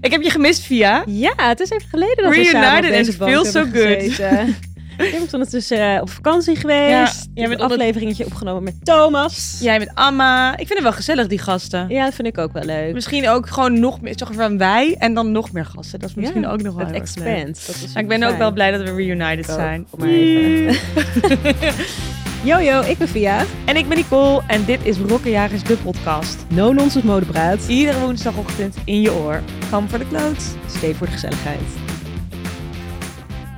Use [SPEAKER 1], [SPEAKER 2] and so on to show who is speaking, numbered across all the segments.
[SPEAKER 1] Ik heb je gemist via.
[SPEAKER 2] Ja, het is even geleden dat we samen op
[SPEAKER 1] Reunited and
[SPEAKER 2] deze bank
[SPEAKER 1] feels
[SPEAKER 2] hebben
[SPEAKER 1] so good.
[SPEAKER 2] gezeten. Je bent ondertussen eh, op vakantie geweest.
[SPEAKER 1] jij
[SPEAKER 2] je hebt
[SPEAKER 1] bent
[SPEAKER 2] een
[SPEAKER 1] onder-
[SPEAKER 2] afleveringetje opgenomen met Thomas.
[SPEAKER 1] Jij met Amma. Ik vind het wel gezellig, die gasten.
[SPEAKER 2] Ja, dat vind ik ook wel leuk.
[SPEAKER 1] Misschien ook gewoon nog meer, zeg maar van wij en dan nog meer gasten. Dat is misschien
[SPEAKER 2] Ja,
[SPEAKER 1] ook nog wel
[SPEAKER 2] Het
[SPEAKER 1] heel erg leuk.
[SPEAKER 2] expand. Dat is
[SPEAKER 1] Maar ik ben ook
[SPEAKER 2] fijn.
[SPEAKER 1] wel blij dat we reunited
[SPEAKER 2] Ook,
[SPEAKER 1] zijn.
[SPEAKER 2] om maar even-
[SPEAKER 1] Yeah.
[SPEAKER 2] Yo, yo, ik ben Via.
[SPEAKER 1] En ik ben Nicole en dit is Rokkenjagers, de podcast.
[SPEAKER 2] No Nonsense Modepraat.
[SPEAKER 1] Iedere woensdagochtend in je oor. Kom voor de kloot.
[SPEAKER 2] Steed voor de gezelligheid.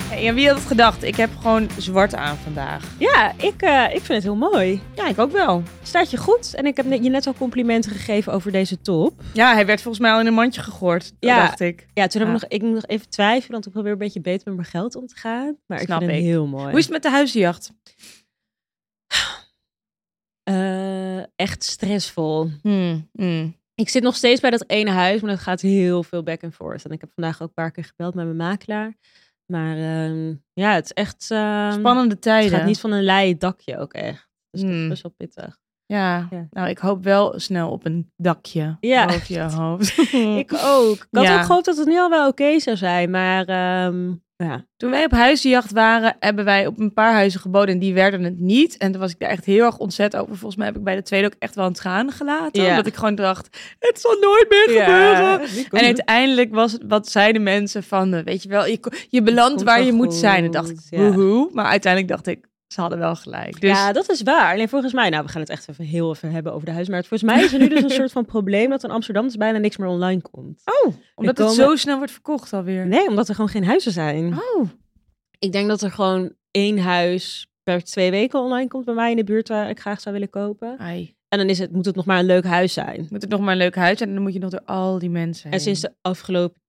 [SPEAKER 1] Hey, en wie had het gedacht? Ik heb gewoon zwart aan vandaag.
[SPEAKER 2] Ja, ik, eh, ik vind het heel mooi.
[SPEAKER 1] Ja, ik ook wel.
[SPEAKER 2] Staat je goed. En ik heb net- je net al complimenten gegeven over deze top.
[SPEAKER 1] Ja, hij werd volgens mij al in een mandje gegooid.
[SPEAKER 2] Ja.
[SPEAKER 1] Ja. dacht ik.
[SPEAKER 2] Ja, toen heb
[SPEAKER 1] Ja.
[SPEAKER 2] ik nog, ik moet nog even twijfelen, want ik probeer een beetje beter met mijn geld om te gaan. Maar ik
[SPEAKER 1] Snap
[SPEAKER 2] vind het
[SPEAKER 1] ik.
[SPEAKER 2] heel mooi.
[SPEAKER 1] Hoe is het met de huizenjacht?
[SPEAKER 2] Eh, echt stressvol. Hmm, Ik zit nog steeds bij dat ene huis, maar dat gaat heel veel back and forth. En ik heb vandaag ook een paar keer gebeld met mijn makelaar. Maar ehm, ja, het is echt... ehm,
[SPEAKER 1] Spannende
[SPEAKER 2] Het
[SPEAKER 1] tijden.
[SPEAKER 2] gaat niet van een lei dakje ook echt. Dus dat is
[SPEAKER 1] Hmm.
[SPEAKER 2] best wel pittig.
[SPEAKER 1] Ja.
[SPEAKER 2] Ja.
[SPEAKER 1] nou ik hoop wel snel op een dakje
[SPEAKER 2] Ja.
[SPEAKER 1] boven je hoofd.
[SPEAKER 2] Ik ook. Ik had
[SPEAKER 1] Ja.
[SPEAKER 2] ook gehoopt dat het nu al wel oké zou zijn, maar ehm, ja.
[SPEAKER 1] Toen wij op huizenjacht waren, hebben wij op een paar huizen geboden en die werden het niet. En toen was ik daar echt heel erg ontzet over. Volgens mij heb ik bij de tweede ook echt wel een tranen gelaten.
[SPEAKER 2] Ja.
[SPEAKER 1] Omdat ik gewoon dacht, het zal nooit meer gebeuren. En
[SPEAKER 2] het
[SPEAKER 1] uiteindelijk was het, wat zeiden mensen van, eh, weet je wel, je, ko- je belandt
[SPEAKER 2] komt
[SPEAKER 1] waar
[SPEAKER 2] wel
[SPEAKER 1] je moet zijn. En dacht ik,
[SPEAKER 2] goed, ja.
[SPEAKER 1] woehoe. Maar uiteindelijk dacht ik, ze hadden wel gelijk. Dus
[SPEAKER 2] Ja, dat is waar. Alleen volgens mij, nou, we gaan het echt even heel even hebben over de huismarkt. Volgens mij is er nu dus een soort van probleem dat in Amsterdam dus bijna niks meer online komt.
[SPEAKER 1] oh, omdat
[SPEAKER 2] Er
[SPEAKER 1] het
[SPEAKER 2] komen-
[SPEAKER 1] zo snel wordt verkocht alweer.
[SPEAKER 2] Nee, omdat er gewoon geen huizen zijn.
[SPEAKER 1] Oh,
[SPEAKER 2] Ik denk dat er gewoon één huis per twee weken online komt bij mij in de buurt waar ik graag zou willen kopen.
[SPEAKER 1] ai.
[SPEAKER 2] En dan is het, moet het nog maar een leuk huis zijn.
[SPEAKER 1] Moet het nog maar een leuk huis zijn en dan moet je nog door al die mensen
[SPEAKER 2] En sinds de afgelopen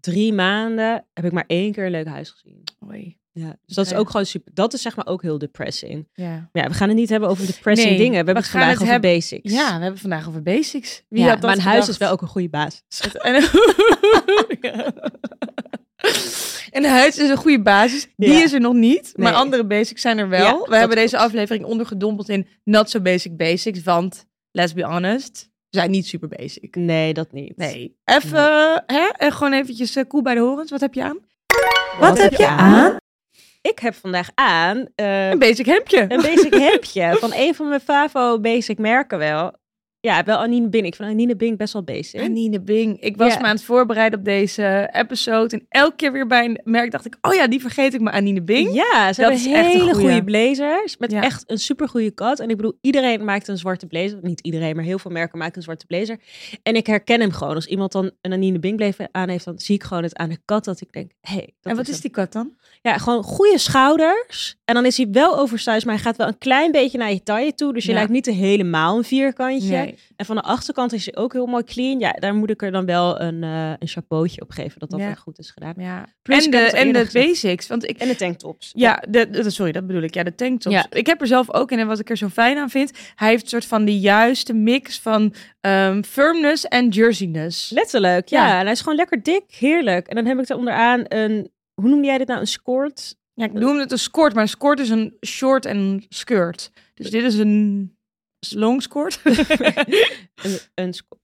[SPEAKER 2] drie maanden heb ik maar één keer een leuk huis gezien.
[SPEAKER 1] Oei.
[SPEAKER 2] Ja, dus dat is
[SPEAKER 1] Ja.
[SPEAKER 2] ook gewoon super. Dat is zeg maar ook heel depressing.
[SPEAKER 1] Ja.
[SPEAKER 2] Maar ja, we gaan het niet hebben over depressing
[SPEAKER 1] Nee,
[SPEAKER 2] dingen. We hebben
[SPEAKER 1] we
[SPEAKER 2] het
[SPEAKER 1] gaan
[SPEAKER 2] vandaag
[SPEAKER 1] het
[SPEAKER 2] over
[SPEAKER 1] hebben-
[SPEAKER 2] basics.
[SPEAKER 1] Ja, we hebben vandaag over basics. Wie
[SPEAKER 2] Ja,
[SPEAKER 1] had dat
[SPEAKER 2] maar een huis is wel
[SPEAKER 1] gedacht?
[SPEAKER 2] ook een goede basis.
[SPEAKER 1] En, Ja. En een huis is een goede basis. Die
[SPEAKER 2] Ja.
[SPEAKER 1] is er nog niet, maar
[SPEAKER 2] Nee.
[SPEAKER 1] andere basics zijn er wel.
[SPEAKER 2] Ja,
[SPEAKER 1] we
[SPEAKER 2] dat
[SPEAKER 1] hebben deze
[SPEAKER 2] klopt.
[SPEAKER 1] aflevering ondergedompeld in not so basic basics, want let's be honest, we zijn niet super basic.
[SPEAKER 2] Nee, dat niet.
[SPEAKER 1] Nee. Even, hè? En gewoon eventjes eh, koe bij de horens. Wat heb je aan?
[SPEAKER 2] Wat, heb je aan? Ik heb vandaag aan eh,
[SPEAKER 1] Een basic hemdje.
[SPEAKER 2] een basic hemdje van een van mijn favo basic merken wel. Ja, wel Anine Bing. Ik vind Anine Bing best wel basic.
[SPEAKER 1] Anine Bing. Ik was
[SPEAKER 2] Ja.
[SPEAKER 1] me aan het voorbereiden op deze episode. En elke keer weer bij een merk dacht ik... oh ja, die vergeet ik, maar Anine Bing.
[SPEAKER 2] Ja, ze
[SPEAKER 1] Dat
[SPEAKER 2] hebben
[SPEAKER 1] is echt een
[SPEAKER 2] hele
[SPEAKER 1] goeie.
[SPEAKER 2] goede blazers met
[SPEAKER 1] Ja.
[SPEAKER 2] echt een supergoeie cut. En ik bedoel, iedereen maakt een zwarte blazer. Niet iedereen, maar heel veel merken maken een zwarte blazer. En ik herken hem gewoon. Als iemand dan een Anine Bing blazer aan heeft, dan zie ik gewoon het aan de kat dat ik denk, hé. Hey, dat
[SPEAKER 1] en wat is
[SPEAKER 2] hem.
[SPEAKER 1] die kat dan?
[SPEAKER 2] Ja, gewoon goede schouders. En dan is hij wel oversized, maar hij gaat wel een klein beetje naar je taille toe. Dus je
[SPEAKER 1] Ja.
[SPEAKER 2] lijkt niet helemaal een vierkantje.
[SPEAKER 1] Nee.
[SPEAKER 2] En van de achterkant is hij ook heel mooi clean. Ja, daar moet ik er dan wel een, eh een chapeautje op geven, dat dat
[SPEAKER 1] Ja.
[SPEAKER 2] wel goed is gedaan.
[SPEAKER 1] Ja.
[SPEAKER 2] Plus,
[SPEAKER 1] en
[SPEAKER 2] ik
[SPEAKER 1] de,
[SPEAKER 2] heb het al
[SPEAKER 1] en
[SPEAKER 2] eerder
[SPEAKER 1] de
[SPEAKER 2] gezegd.
[SPEAKER 1] basics. Want ik,
[SPEAKER 2] En de tanktops.
[SPEAKER 1] ja, de, de- sorry, dat bedoel ik. Ja, de tanktops.
[SPEAKER 2] Ja.
[SPEAKER 1] Ik heb er zelf ook in en wat ik er zo fijn aan vind... hij heeft een soort van de juiste mix van ehm, firmness en jerseyness.
[SPEAKER 2] Letterlijk, ja.
[SPEAKER 1] Ja.
[SPEAKER 2] En hij is gewoon lekker dik, heerlijk. En dan heb ik er onderaan een, hoe noemde jij dit nou, een skort?
[SPEAKER 1] Ja, ik noem het een skort, maar een skort is een short en een skirt. Dus dit is een long skort.
[SPEAKER 2] Een, een, sco-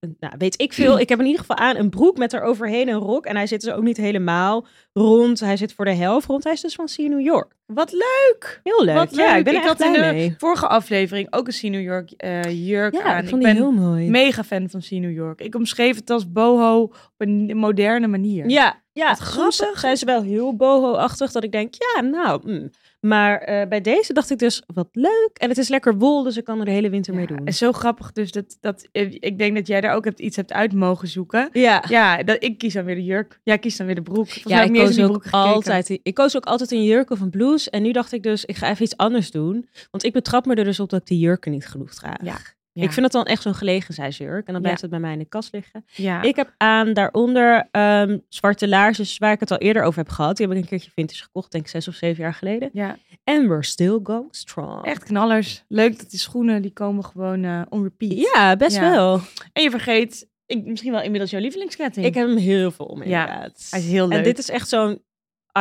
[SPEAKER 2] een- nou, weet ik veel. Ik heb in ieder geval aan een broek met eroverheen een rok. En hij zit dus ook niet helemaal rond. Hij zit voor de helft rond. Hij is dus van See New York.
[SPEAKER 1] wat leuk!
[SPEAKER 2] Heel leuk.
[SPEAKER 1] Wat
[SPEAKER 2] Ja,
[SPEAKER 1] leuk.
[SPEAKER 2] ik ben er
[SPEAKER 1] Ik
[SPEAKER 2] echt
[SPEAKER 1] had in
[SPEAKER 2] blij
[SPEAKER 1] de
[SPEAKER 2] mee.
[SPEAKER 1] Vorige aflevering ook een Sea New York eh, jurk
[SPEAKER 2] Ja,
[SPEAKER 1] aan.
[SPEAKER 2] ik vond
[SPEAKER 1] ben
[SPEAKER 2] die heel mooi.
[SPEAKER 1] mega fan van Sea New York. Ik omschreef het als boho op een moderne manier.
[SPEAKER 2] Ja, ja.
[SPEAKER 1] Wat
[SPEAKER 2] Soms
[SPEAKER 1] grappig.
[SPEAKER 2] zijn ze wel heel boho-achtig dat ik denk, ja, nou. mm. Maar eh, bij deze dacht ik dus, wat leuk. En het is lekker wol, dus ik kan er de hele winter mee doen.
[SPEAKER 1] En zo grappig dus dat, dat eh, ik denk dat jij daar ook hebt, iets hebt uit mogen zoeken.
[SPEAKER 2] Ja.
[SPEAKER 1] Ja, dat, ik kies dan weer de jurk. Jij kiest dan weer de broek. Volgens mij
[SPEAKER 2] Ah. Ja,
[SPEAKER 1] heb
[SPEAKER 2] ik
[SPEAKER 1] ik niet eens
[SPEAKER 2] koos,
[SPEAKER 1] in die
[SPEAKER 2] ook
[SPEAKER 1] broek gekeken.
[SPEAKER 2] altijd, ik koos ook altijd een jurk of een blouse. En nu dacht ik dus, ik ga even iets anders doen. Want ik betrap me er dus op dat ik die jurken niet genoeg draag.
[SPEAKER 1] Ja, ja.
[SPEAKER 2] Ik vind het dan echt zo'n gelegenheidsjurk. En dan blijft het bij mij in de kast liggen.
[SPEAKER 1] Ja.
[SPEAKER 2] Ik heb aan daaronder ehm, zwarte laarsjes, waar ik het al eerder over heb gehad. Die heb ik een keertje vintage gekocht, denk ik zes of zeven jaar geleden.
[SPEAKER 1] ja,
[SPEAKER 2] And we're still going strong.
[SPEAKER 1] echt knallers. Leuk dat die schoenen, die komen gewoon eh on repeat.
[SPEAKER 2] Ja, best
[SPEAKER 1] Ja.
[SPEAKER 2] wel.
[SPEAKER 1] En je vergeet, ik, misschien wel inmiddels jouw lievelingsketting.
[SPEAKER 2] Ik heb hem heel veel om,
[SPEAKER 1] Ja,
[SPEAKER 2] inderdaad.
[SPEAKER 1] hij is heel
[SPEAKER 2] En
[SPEAKER 1] leuk.
[SPEAKER 2] dit is echt zo'n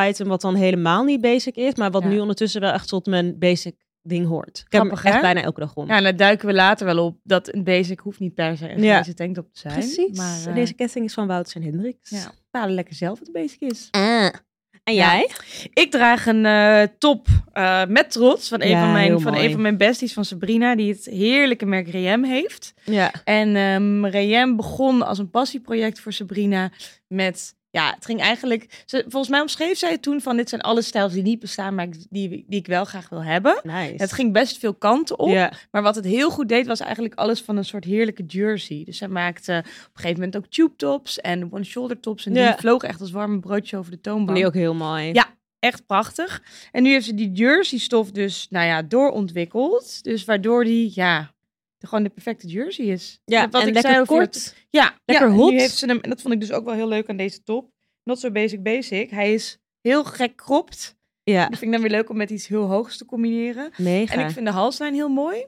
[SPEAKER 2] item wat dan helemaal niet basic is, maar wat
[SPEAKER 1] Ja.
[SPEAKER 2] nu ondertussen wel echt tot mijn basic ding hoort. Ik heb hem
[SPEAKER 1] Grappig,
[SPEAKER 2] echt
[SPEAKER 1] hè?
[SPEAKER 2] bijna elke dag om.
[SPEAKER 1] Ja, en Nou, daar duiken we later wel op dat een basic hoeft niet per se een
[SPEAKER 2] Ja.
[SPEAKER 1] grijze tanktop te zijn.
[SPEAKER 2] Precies.
[SPEAKER 1] Maar eh,
[SPEAKER 2] En Deze ketting is van Wouters en Hendricks. Ah.
[SPEAKER 1] ja, bepalen lekker zelf wat de basic is.
[SPEAKER 2] En jij?
[SPEAKER 1] Ik draag een eh, top eh, met trots van een,
[SPEAKER 2] Ja,
[SPEAKER 1] van,
[SPEAKER 2] heel
[SPEAKER 1] mijn, van een
[SPEAKER 2] mooi.
[SPEAKER 1] van mijn besties van Sabrina, die het heerlijke merk Riem heeft.
[SPEAKER 2] Ja.
[SPEAKER 1] En ehm Riem begon als een passieproject voor Sabrina met... Ja, het ging eigenlijk... Ze, volgens mij omschreef zij het toen van... dit zijn alle stijls die niet bestaan, maar ik- die, die ik wel graag wil hebben.
[SPEAKER 2] Nice.
[SPEAKER 1] Het ging best veel kanten op.
[SPEAKER 2] Ja.
[SPEAKER 1] Maar wat het heel goed deed, was eigenlijk alles van een soort heerlijke jersey. Dus zij maakte op een gegeven moment ook tube tops en one-shoulder tops. En
[SPEAKER 2] Ja.
[SPEAKER 1] die vlogen echt als warme broodjes over de toonbank.
[SPEAKER 2] Vond die ook heel mooi.
[SPEAKER 1] Ja. Echt prachtig. En nu heeft ze die jersey-stof dus, nou ja, doorontwikkeld. Dus waardoor die, ja, de- gewoon de perfecte jersey is.
[SPEAKER 2] Ja,
[SPEAKER 1] Wat
[SPEAKER 2] en
[SPEAKER 1] ik
[SPEAKER 2] lekker
[SPEAKER 1] zei over
[SPEAKER 2] kort.
[SPEAKER 1] dat- ja,
[SPEAKER 2] Lekker
[SPEAKER 1] ja, en
[SPEAKER 2] hot.
[SPEAKER 1] Nu heeft ze hem, en dat vond ik dus ook wel heel leuk aan deze top. Not so basic basic. Hij is heel gek kropt.
[SPEAKER 2] Ja.
[SPEAKER 1] Dat vind ik dan weer leuk om met iets heel hoogs te combineren.
[SPEAKER 2] Mega.
[SPEAKER 1] En ik vind de halslijn heel mooi.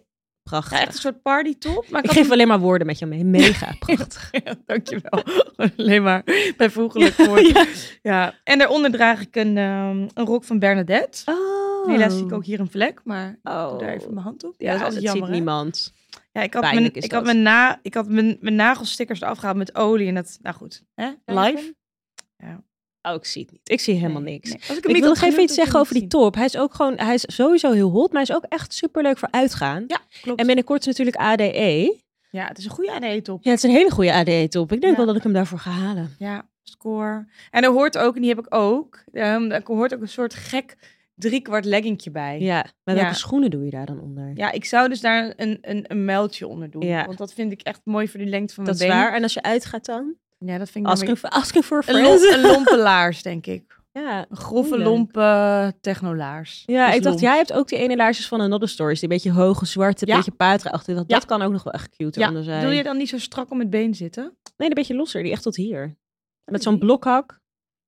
[SPEAKER 2] prachtig.
[SPEAKER 1] Ja, echt een soort partytop. Maar
[SPEAKER 2] ik
[SPEAKER 1] ik
[SPEAKER 2] geef alleen maar woorden met jou mee. Mega prachtig.
[SPEAKER 1] had... Dankjewel. Gewoon alleen maar bijvoeglijk woord. Ja. En daaronder draag ik een, ehm, een rok van Bernadette.
[SPEAKER 2] Oh.
[SPEAKER 1] Helaas zie ik ook hier een vlek, maar ik doe
[SPEAKER 2] Oh.
[SPEAKER 1] daar even mijn hand op. Ja,
[SPEAKER 2] Ja,
[SPEAKER 1] dat is
[SPEAKER 2] dat
[SPEAKER 1] altijd
[SPEAKER 2] ziet
[SPEAKER 1] jammer. hè?
[SPEAKER 2] niemand.
[SPEAKER 1] Ja, ik had, mijn,
[SPEAKER 2] Pijnlijk is
[SPEAKER 1] ik had,
[SPEAKER 2] dat.
[SPEAKER 1] mijn, na, ik had mijn, mijn nagelstickers eraf gehaald met olie en dat, nou goed. Hè? Live?
[SPEAKER 2] Oh, ik zie het niet. Ik zie helemaal
[SPEAKER 1] Nee,
[SPEAKER 2] niks.
[SPEAKER 1] nee. Als
[SPEAKER 2] Ik, wil nog even iets zeggen over die
[SPEAKER 1] top.
[SPEAKER 2] top. Hij is ook gewoon, hij is sowieso heel hot, maar hij is ook echt superleuk voor uitgaan.
[SPEAKER 1] Ja, klopt.
[SPEAKER 2] En binnenkort is natuurlijk ADE.
[SPEAKER 1] Ja, het is een goede ADE-top.
[SPEAKER 2] Ja, het is een hele goede ADE-top. Ik denk
[SPEAKER 1] Ja.
[SPEAKER 2] wel dat ik hem daarvoor ga halen.
[SPEAKER 1] Ja, score. En er hoort ook, en die heb ik ook, ehm, er hoort ook een soort gek driekwart leggingje bij.
[SPEAKER 2] Ja, maar
[SPEAKER 1] Ja.
[SPEAKER 2] welke schoenen doe je daar dan onder?
[SPEAKER 1] Ja, ik zou dus daar een, een, een muiltje onder doen.
[SPEAKER 2] Ja.
[SPEAKER 1] Want dat vind ik echt mooi voor die lengte van
[SPEAKER 2] dat
[SPEAKER 1] mijn
[SPEAKER 2] is
[SPEAKER 1] been.
[SPEAKER 2] waar. En als je uitgaat dan?
[SPEAKER 1] Ja, dat vind ik dan
[SPEAKER 2] Asking,
[SPEAKER 1] weer-
[SPEAKER 2] for- asking for a
[SPEAKER 1] een,
[SPEAKER 2] friend.
[SPEAKER 1] lom- een lompe laars, denk ik.
[SPEAKER 2] Ja,
[SPEAKER 1] Een grove,
[SPEAKER 2] Moeilijk.
[SPEAKER 1] lompe technolaars.
[SPEAKER 2] ja
[SPEAKER 1] Dus
[SPEAKER 2] ik dacht,
[SPEAKER 1] lomp.
[SPEAKER 2] jij hebt ook die ene laarsjes van Another Stories. Die beetje hoge, zwarte,
[SPEAKER 1] Ja.
[SPEAKER 2] beetje paterachtig. Dat,
[SPEAKER 1] Ja.
[SPEAKER 2] dat kan ook nog wel echt cute
[SPEAKER 1] Ja,
[SPEAKER 2] onder zijn.
[SPEAKER 1] Wil je dan niet zo strak om het been zitten?
[SPEAKER 2] Nee, een beetje losser. Die echt tot hier. Met
[SPEAKER 1] die-
[SPEAKER 2] zo'n blokhak.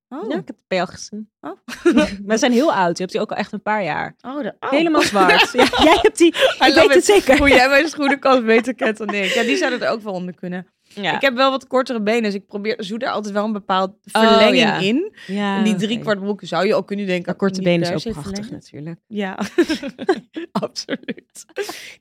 [SPEAKER 1] Oh,
[SPEAKER 2] Ja, ik heb het bij jou gezien.
[SPEAKER 1] Oh.
[SPEAKER 2] maar ze zijn heel oud. Je hebt die ook al echt een paar jaar.
[SPEAKER 1] oh, de, oh.
[SPEAKER 2] Helemaal zwart. ja, jij hebt die.
[SPEAKER 1] I
[SPEAKER 2] ik
[SPEAKER 1] love
[SPEAKER 2] weet het
[SPEAKER 1] it.
[SPEAKER 2] zeker.
[SPEAKER 1] Hoe jij mijn schoenenkast beter kent dan ik. Ja, die zouden er ook wel onder kunnen.
[SPEAKER 2] Ja.
[SPEAKER 1] Ik heb wel wat kortere benen, dus ik probeer, zoek daar altijd wel een bepaald verlenging
[SPEAKER 2] Oh, ja.
[SPEAKER 1] in.
[SPEAKER 2] ja,
[SPEAKER 1] en die
[SPEAKER 2] oké.
[SPEAKER 1] driekwart broeken zou je ook kunnen denken.
[SPEAKER 2] Maar korte
[SPEAKER 1] niet
[SPEAKER 2] benen
[SPEAKER 1] per
[SPEAKER 2] is
[SPEAKER 1] se
[SPEAKER 2] ook prachtig
[SPEAKER 1] verlengen.
[SPEAKER 2] natuurlijk.
[SPEAKER 1] Ja, absoluut.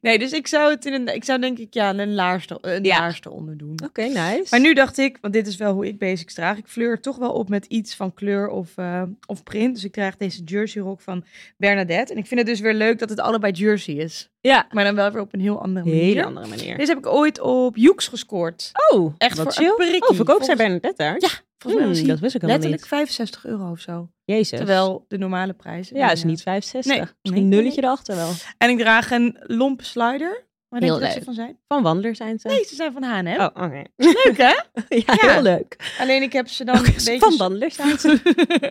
[SPEAKER 1] Nee, dus ik zou het in een, ik zou denk ik ja, een laarste, een
[SPEAKER 2] Ja.
[SPEAKER 1] laarste onder doen.
[SPEAKER 2] Oké, nice.
[SPEAKER 1] Maar nu dacht ik, want dit is wel hoe ik basics draag. Ik fleur toch wel op met iets van kleur of, eh, of print. Dus ik draag deze jersey rok van Bernadette. En ik vind het dus weer leuk dat het allebei jersey is.
[SPEAKER 2] Ja.
[SPEAKER 1] Maar dan wel weer op een heel andere manier.
[SPEAKER 2] Hele andere manier.
[SPEAKER 1] Deze heb ik ooit op Joeks gescoord.
[SPEAKER 2] Oh,
[SPEAKER 1] Echt
[SPEAKER 2] wat
[SPEAKER 1] voor
[SPEAKER 2] chill.
[SPEAKER 1] een prikkie.
[SPEAKER 2] Oh, verkoopt zij
[SPEAKER 1] Volgens-
[SPEAKER 2] Bernadette daar?
[SPEAKER 1] Ja, Mm, Volgens mij
[SPEAKER 2] Hmm,
[SPEAKER 1] was die
[SPEAKER 2] dat wist ik helemaal
[SPEAKER 1] letterlijk
[SPEAKER 2] niet.
[SPEAKER 1] 65 euro of zo.
[SPEAKER 2] Jezus.
[SPEAKER 1] Terwijl de normale prijs.
[SPEAKER 2] Ja, is niet 65.
[SPEAKER 1] Nee,
[SPEAKER 2] Misschien
[SPEAKER 1] nee,
[SPEAKER 2] een
[SPEAKER 1] nee,
[SPEAKER 2] nulletje erachter wel.
[SPEAKER 1] En ik draag een lompe slider. Waar denk
[SPEAKER 2] Heel
[SPEAKER 1] je dat ze
[SPEAKER 2] leuk.
[SPEAKER 1] van zijn?
[SPEAKER 2] Van Wandler zijn ze.
[SPEAKER 1] Nee, ze zijn van H&M.
[SPEAKER 2] Oh, oké.
[SPEAKER 1] Leuk, hè?
[SPEAKER 2] ja,
[SPEAKER 1] Ja.
[SPEAKER 2] heel leuk.
[SPEAKER 1] Alleen ik heb ze dan een beetje...
[SPEAKER 2] Van Wandler zijn ze.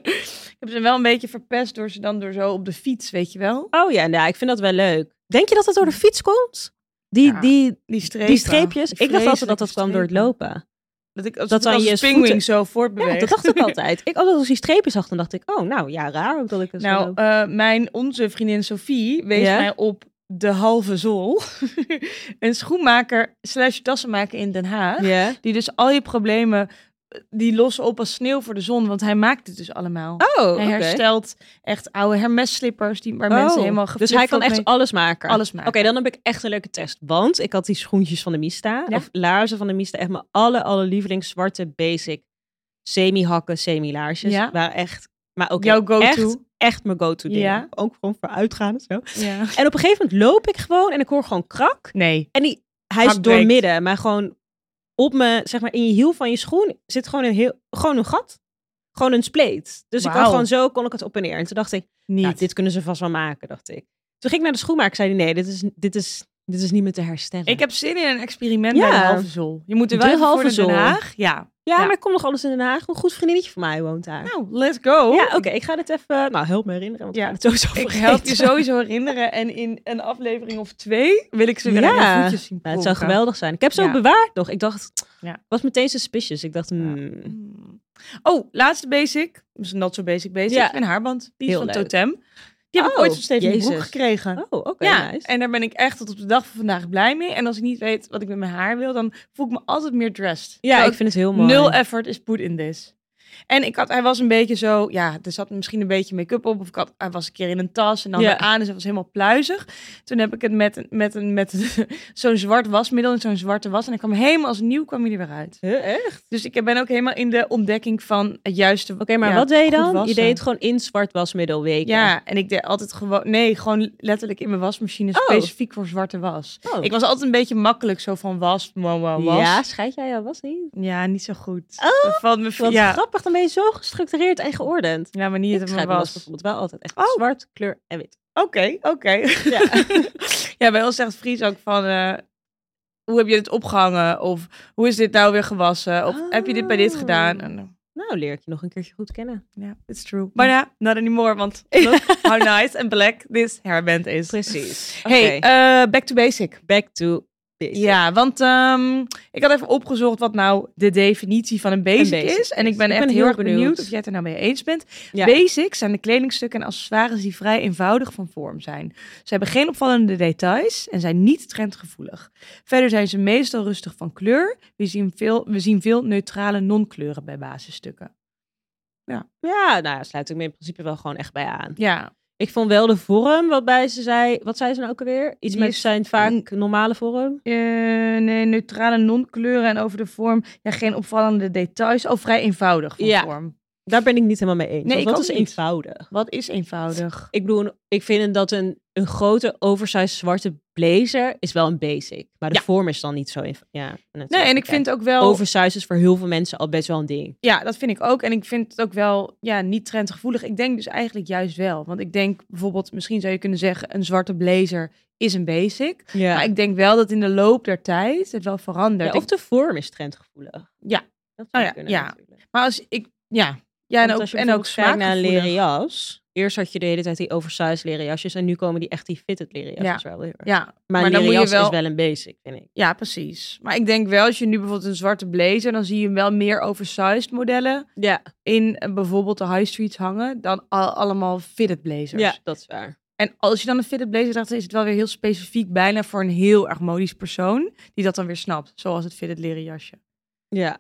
[SPEAKER 1] ik heb ze wel een beetje verpest door ze dan door zo op de fiets, weet je wel?
[SPEAKER 2] Oh ja, nou, ik vind dat wel leuk. Denk je dat dat door de fiets komt? Die,
[SPEAKER 1] Ja,
[SPEAKER 2] die,
[SPEAKER 1] Die strepen.
[SPEAKER 2] die streepjes?
[SPEAKER 1] Die
[SPEAKER 2] ik dacht altijd dat dat
[SPEAKER 1] vreselijke
[SPEAKER 2] kwam door het
[SPEAKER 1] strepen.
[SPEAKER 2] lopen.
[SPEAKER 1] Dat ik als,
[SPEAKER 2] Dat
[SPEAKER 1] dat
[SPEAKER 2] dan
[SPEAKER 1] als
[SPEAKER 2] je
[SPEAKER 1] een pinguïn
[SPEAKER 2] voeten-
[SPEAKER 1] zo
[SPEAKER 2] Ja,
[SPEAKER 1] voortbeweegt.
[SPEAKER 2] dat dacht ik altijd. Ik altijd als die strepen zag, dan dacht ik, oh, nou ja, raar ook dat ik het zo...
[SPEAKER 1] Nou, eh, mijn, onze vriendin Sophie wees
[SPEAKER 2] Ja?
[SPEAKER 1] mij op de halve zool. een schoenmaker slash tassenmaker in Den Haag.
[SPEAKER 2] ja.
[SPEAKER 1] Die dus al je problemen, eh, die lossen op als sneeuw voor de zon. Want hij maakt het dus allemaal.
[SPEAKER 2] Oh,
[SPEAKER 1] Hij herstelt echt oude Hermes-slippers die waar mensen helemaal
[SPEAKER 2] Dus hij kan
[SPEAKER 1] geflipflopt
[SPEAKER 2] echt
[SPEAKER 1] mee-
[SPEAKER 2] alles maken.
[SPEAKER 1] alles
[SPEAKER 2] Oké,
[SPEAKER 1] maken.
[SPEAKER 2] dan heb ik echt een leuke test. Want ik had die schoentjes van de Mista.
[SPEAKER 1] Ja.
[SPEAKER 2] Of laarzen van de Mista. Echt mijn alle, alle lievelings zwarte basic semi-hakken, semi-laarsjes.
[SPEAKER 1] Ja.
[SPEAKER 2] Waren echt... Maar ook
[SPEAKER 1] Jouw go-to.
[SPEAKER 2] echt, echt mijn go-to dingen.
[SPEAKER 1] Ja.
[SPEAKER 2] Ook gewoon voor uitgaan en zo.
[SPEAKER 1] Ja.
[SPEAKER 2] En op een gegeven moment loop ik gewoon en ik hoor gewoon krak.
[SPEAKER 1] Nee.
[SPEAKER 2] En die, hij is
[SPEAKER 1] Krak breekt.
[SPEAKER 2] doormidden. Maar gewoon op me, zeg maar, in je hiel van je schoen zit gewoon een, heel, gewoon een gat. Gewoon een spleet. Dus ik
[SPEAKER 1] Wauw.
[SPEAKER 2] had gewoon zo, kon ik het op en neer. En toen dacht ik,
[SPEAKER 1] Niet.
[SPEAKER 2] ja, Nou, dit kunnen ze vast wel maken, dacht ik. Toen ging ik naar de schoenmaker, zei hij, nee, dit is, dit is, dit is niet meer te herstellen.
[SPEAKER 1] Ik heb zin in een experiment
[SPEAKER 2] Ja.
[SPEAKER 1] bij de halve zool. Je moet er
[SPEAKER 2] De
[SPEAKER 1] wel even
[SPEAKER 2] halve
[SPEAKER 1] voor naar Den
[SPEAKER 2] zool.
[SPEAKER 1] Haag. Ja.
[SPEAKER 2] ja,
[SPEAKER 1] ja.
[SPEAKER 2] maar ik kom nog alles in Den Haag. Een goed vriendinnetje van mij woont daar.
[SPEAKER 1] Nou, let's go.
[SPEAKER 2] ja, oké, ik ga dit even, nou, help me herinneren, want
[SPEAKER 1] Ja.
[SPEAKER 2] ik ga het sowieso
[SPEAKER 1] Ik
[SPEAKER 2] vergeten.
[SPEAKER 1] help je sowieso herinneren. En in een aflevering of twee wil ik ze weer
[SPEAKER 2] Ja.
[SPEAKER 1] aan je voetjes zien
[SPEAKER 2] Ja, het zou
[SPEAKER 1] pronken.
[SPEAKER 2] geweldig zijn. Ik heb ze ook
[SPEAKER 1] Ja.
[SPEAKER 2] bewaard nog. Ik dacht,
[SPEAKER 1] Ja.
[SPEAKER 2] was meteen suspicious. Ik dacht, hmm,
[SPEAKER 1] Hmm. Oh, laatste basic. Dus not so basic basic.
[SPEAKER 2] Ja.
[SPEAKER 1] Een haarband. Die is
[SPEAKER 2] Heel
[SPEAKER 1] van
[SPEAKER 2] leuk.
[SPEAKER 1] Totem. Die heb ik
[SPEAKER 2] Oh,
[SPEAKER 1] ooit van Steven de
[SPEAKER 2] Jezus.
[SPEAKER 1] Broek gekregen.
[SPEAKER 2] oh, oké,
[SPEAKER 1] ja,
[SPEAKER 2] nice.
[SPEAKER 1] en daar ben ik echt tot op de dag van vandaag blij mee. En als ik niet weet wat ik met mijn haar wil, dan voel ik me altijd meer dressed.
[SPEAKER 2] ja,
[SPEAKER 1] Terwijl
[SPEAKER 2] ik vind het heel mooi.
[SPEAKER 1] Nul effort is put in this. En ik had, hij was een beetje zo, ja, er zat misschien een beetje make-up op. Of ik had, hij was een keer in een tas en dan
[SPEAKER 2] Ja.
[SPEAKER 1] weer aan. Dus hij was helemaal pluizig. Toen heb ik het met, een- met, een- met zo'n zwart wasmiddel en zo'n zwarte was. En hij kwam helemaal als nieuw kwam hij er weer uit.
[SPEAKER 2] echt? Oké,
[SPEAKER 1] Dus ik ben ook helemaal in de ontdekking van het juiste. Oké,
[SPEAKER 2] maar wat deed je dan? Je
[SPEAKER 1] wassen.
[SPEAKER 2] deed het gewoon in zwart wasmiddel weken.
[SPEAKER 1] Ja, en ik deed altijd gewoon, nee, gewoon letterlijk in mijn wasmachine
[SPEAKER 2] Oh.
[SPEAKER 1] specifiek voor zwarte was.
[SPEAKER 2] Oh.
[SPEAKER 1] Ik was altijd een beetje makkelijk zo van was, wow, wow, was.
[SPEAKER 2] Ja, scheid jij jouw was niet?
[SPEAKER 1] Ja, niet zo goed.
[SPEAKER 2] Oh,
[SPEAKER 1] Dat valt me
[SPEAKER 2] Wat
[SPEAKER 1] ja.
[SPEAKER 2] grappig, dan ben je zo gestructureerd en geordend.
[SPEAKER 1] ja, maar niet
[SPEAKER 2] ik
[SPEAKER 1] dat mijn
[SPEAKER 2] scheid mijn
[SPEAKER 1] was.
[SPEAKER 2] was bijvoorbeeld wel altijd echt
[SPEAKER 1] Oh.
[SPEAKER 2] zwart, kleur en wit.
[SPEAKER 1] Oké, oké.
[SPEAKER 2] Ja.
[SPEAKER 1] Ja, bij ons zegt Fries ook van... eh, hoe heb je dit opgehangen? Of hoe is dit nou weer gewassen? Of heb je dit bij dit gedaan?
[SPEAKER 2] Oh.
[SPEAKER 1] En, eh,
[SPEAKER 2] nou, leer ik je nog een keertje goed kennen.
[SPEAKER 1] Ja, it's true. Maar ja, not anymore, want look how nice and black this hairband is.
[SPEAKER 2] Precies.
[SPEAKER 1] Hey,
[SPEAKER 2] Oké.
[SPEAKER 1] eh, back to basic.
[SPEAKER 2] back to basic.
[SPEAKER 1] Ja, want ehm, ik had even opgezocht wat nou de definitie van een basic,
[SPEAKER 2] Een basic
[SPEAKER 1] is. En ik
[SPEAKER 2] is.
[SPEAKER 1] ben
[SPEAKER 2] Ik
[SPEAKER 1] echt
[SPEAKER 2] ben
[SPEAKER 1] heel
[SPEAKER 2] heel
[SPEAKER 1] erg benieuwd.
[SPEAKER 2] benieuwd.
[SPEAKER 1] of jij het er nou mee eens bent.
[SPEAKER 2] Ja.
[SPEAKER 1] Basics zijn de kledingstukken en accessoires die vrij eenvoudig van vorm zijn. Ze hebben geen opvallende details en zijn niet trendgevoelig. Verder zijn ze meestal rustig van kleur. We zien veel, we zien veel neutrale non-kleuren bij basisstukken.
[SPEAKER 2] Ja, nou, daar sluit ik me in principe wel gewoon echt bij aan.
[SPEAKER 1] Ja,
[SPEAKER 2] Ik vond wel de vorm waarbij ze zei... Wat zei ze nou ook alweer? Iets
[SPEAKER 1] Die
[SPEAKER 2] met
[SPEAKER 1] is-
[SPEAKER 2] zijn vaak normale vorm.
[SPEAKER 1] eh, nee, neutrale non-kleuren en over de vorm ja, geen opvallende details. Oh, vrij eenvoudig van
[SPEAKER 2] Ja.
[SPEAKER 1] vorm.
[SPEAKER 2] Daar ben ik niet helemaal mee eens.
[SPEAKER 1] Nee,
[SPEAKER 2] want
[SPEAKER 1] ik
[SPEAKER 2] wat
[SPEAKER 1] ook
[SPEAKER 2] is
[SPEAKER 1] niet.
[SPEAKER 2] eenvoudig?
[SPEAKER 1] Wat is eenvoudig?
[SPEAKER 2] Ik bedoel, ik vind dat een, een grote oversized zwarte blazer is wel een basic. Maar de
[SPEAKER 1] Ja.
[SPEAKER 2] vorm is dan niet zo eenvoudig. Ja, natuurlijk.
[SPEAKER 1] Nee, en ik
[SPEAKER 2] Ja.
[SPEAKER 1] vind ook wel...
[SPEAKER 2] Oversized is voor heel veel mensen al best wel een ding.
[SPEAKER 1] Ja, dat vind ik ook. En ik vind het ook wel ja, niet trendgevoelig. Ik denk dus eigenlijk juist wel. Want ik denk bijvoorbeeld, misschien zou je kunnen zeggen, een zwarte blazer is een basic.
[SPEAKER 2] Ja.
[SPEAKER 1] Maar ik denk wel dat in de loop der tijd het wel verandert.
[SPEAKER 2] Ja, of de vorm is trendgevoelig.
[SPEAKER 1] Ja.
[SPEAKER 2] Dat zou
[SPEAKER 1] Oh ja,
[SPEAKER 2] kunnen
[SPEAKER 1] ja.
[SPEAKER 2] natuurlijk.
[SPEAKER 1] Ik- maar als ik, ja. Ja, en
[SPEAKER 2] Want
[SPEAKER 1] ook,
[SPEAKER 2] als je
[SPEAKER 1] en ook
[SPEAKER 2] bijvoorbeeld kijkt naar een leren
[SPEAKER 1] smaakgevoelig.
[SPEAKER 2] jas. Eerst had je de hele tijd die oversized leren jasjes. En nu komen die echt die fitted leren jasjes wel weer.
[SPEAKER 1] Ja,
[SPEAKER 2] Maar,
[SPEAKER 1] maar
[SPEAKER 2] een
[SPEAKER 1] dan
[SPEAKER 2] leren
[SPEAKER 1] moet je
[SPEAKER 2] jas is
[SPEAKER 1] wel-
[SPEAKER 2] wel een basic, vind ik.
[SPEAKER 1] ja, precies. Maar ik denk wel, als je nu bijvoorbeeld een zwarte blazer, dan zie je wel meer oversized modellen
[SPEAKER 2] Ja,
[SPEAKER 1] in eh, bijvoorbeeld de high streets hangen dan al- allemaal fitted blazers.
[SPEAKER 2] ja Dus dat is waar.
[SPEAKER 1] En als je dan een fitted blazer draagt, is het wel weer heel specifiek, bijna voor een heel erg modisch persoon, die dat dan weer snapt. Zoals het fitted leren jasje.
[SPEAKER 2] Ja.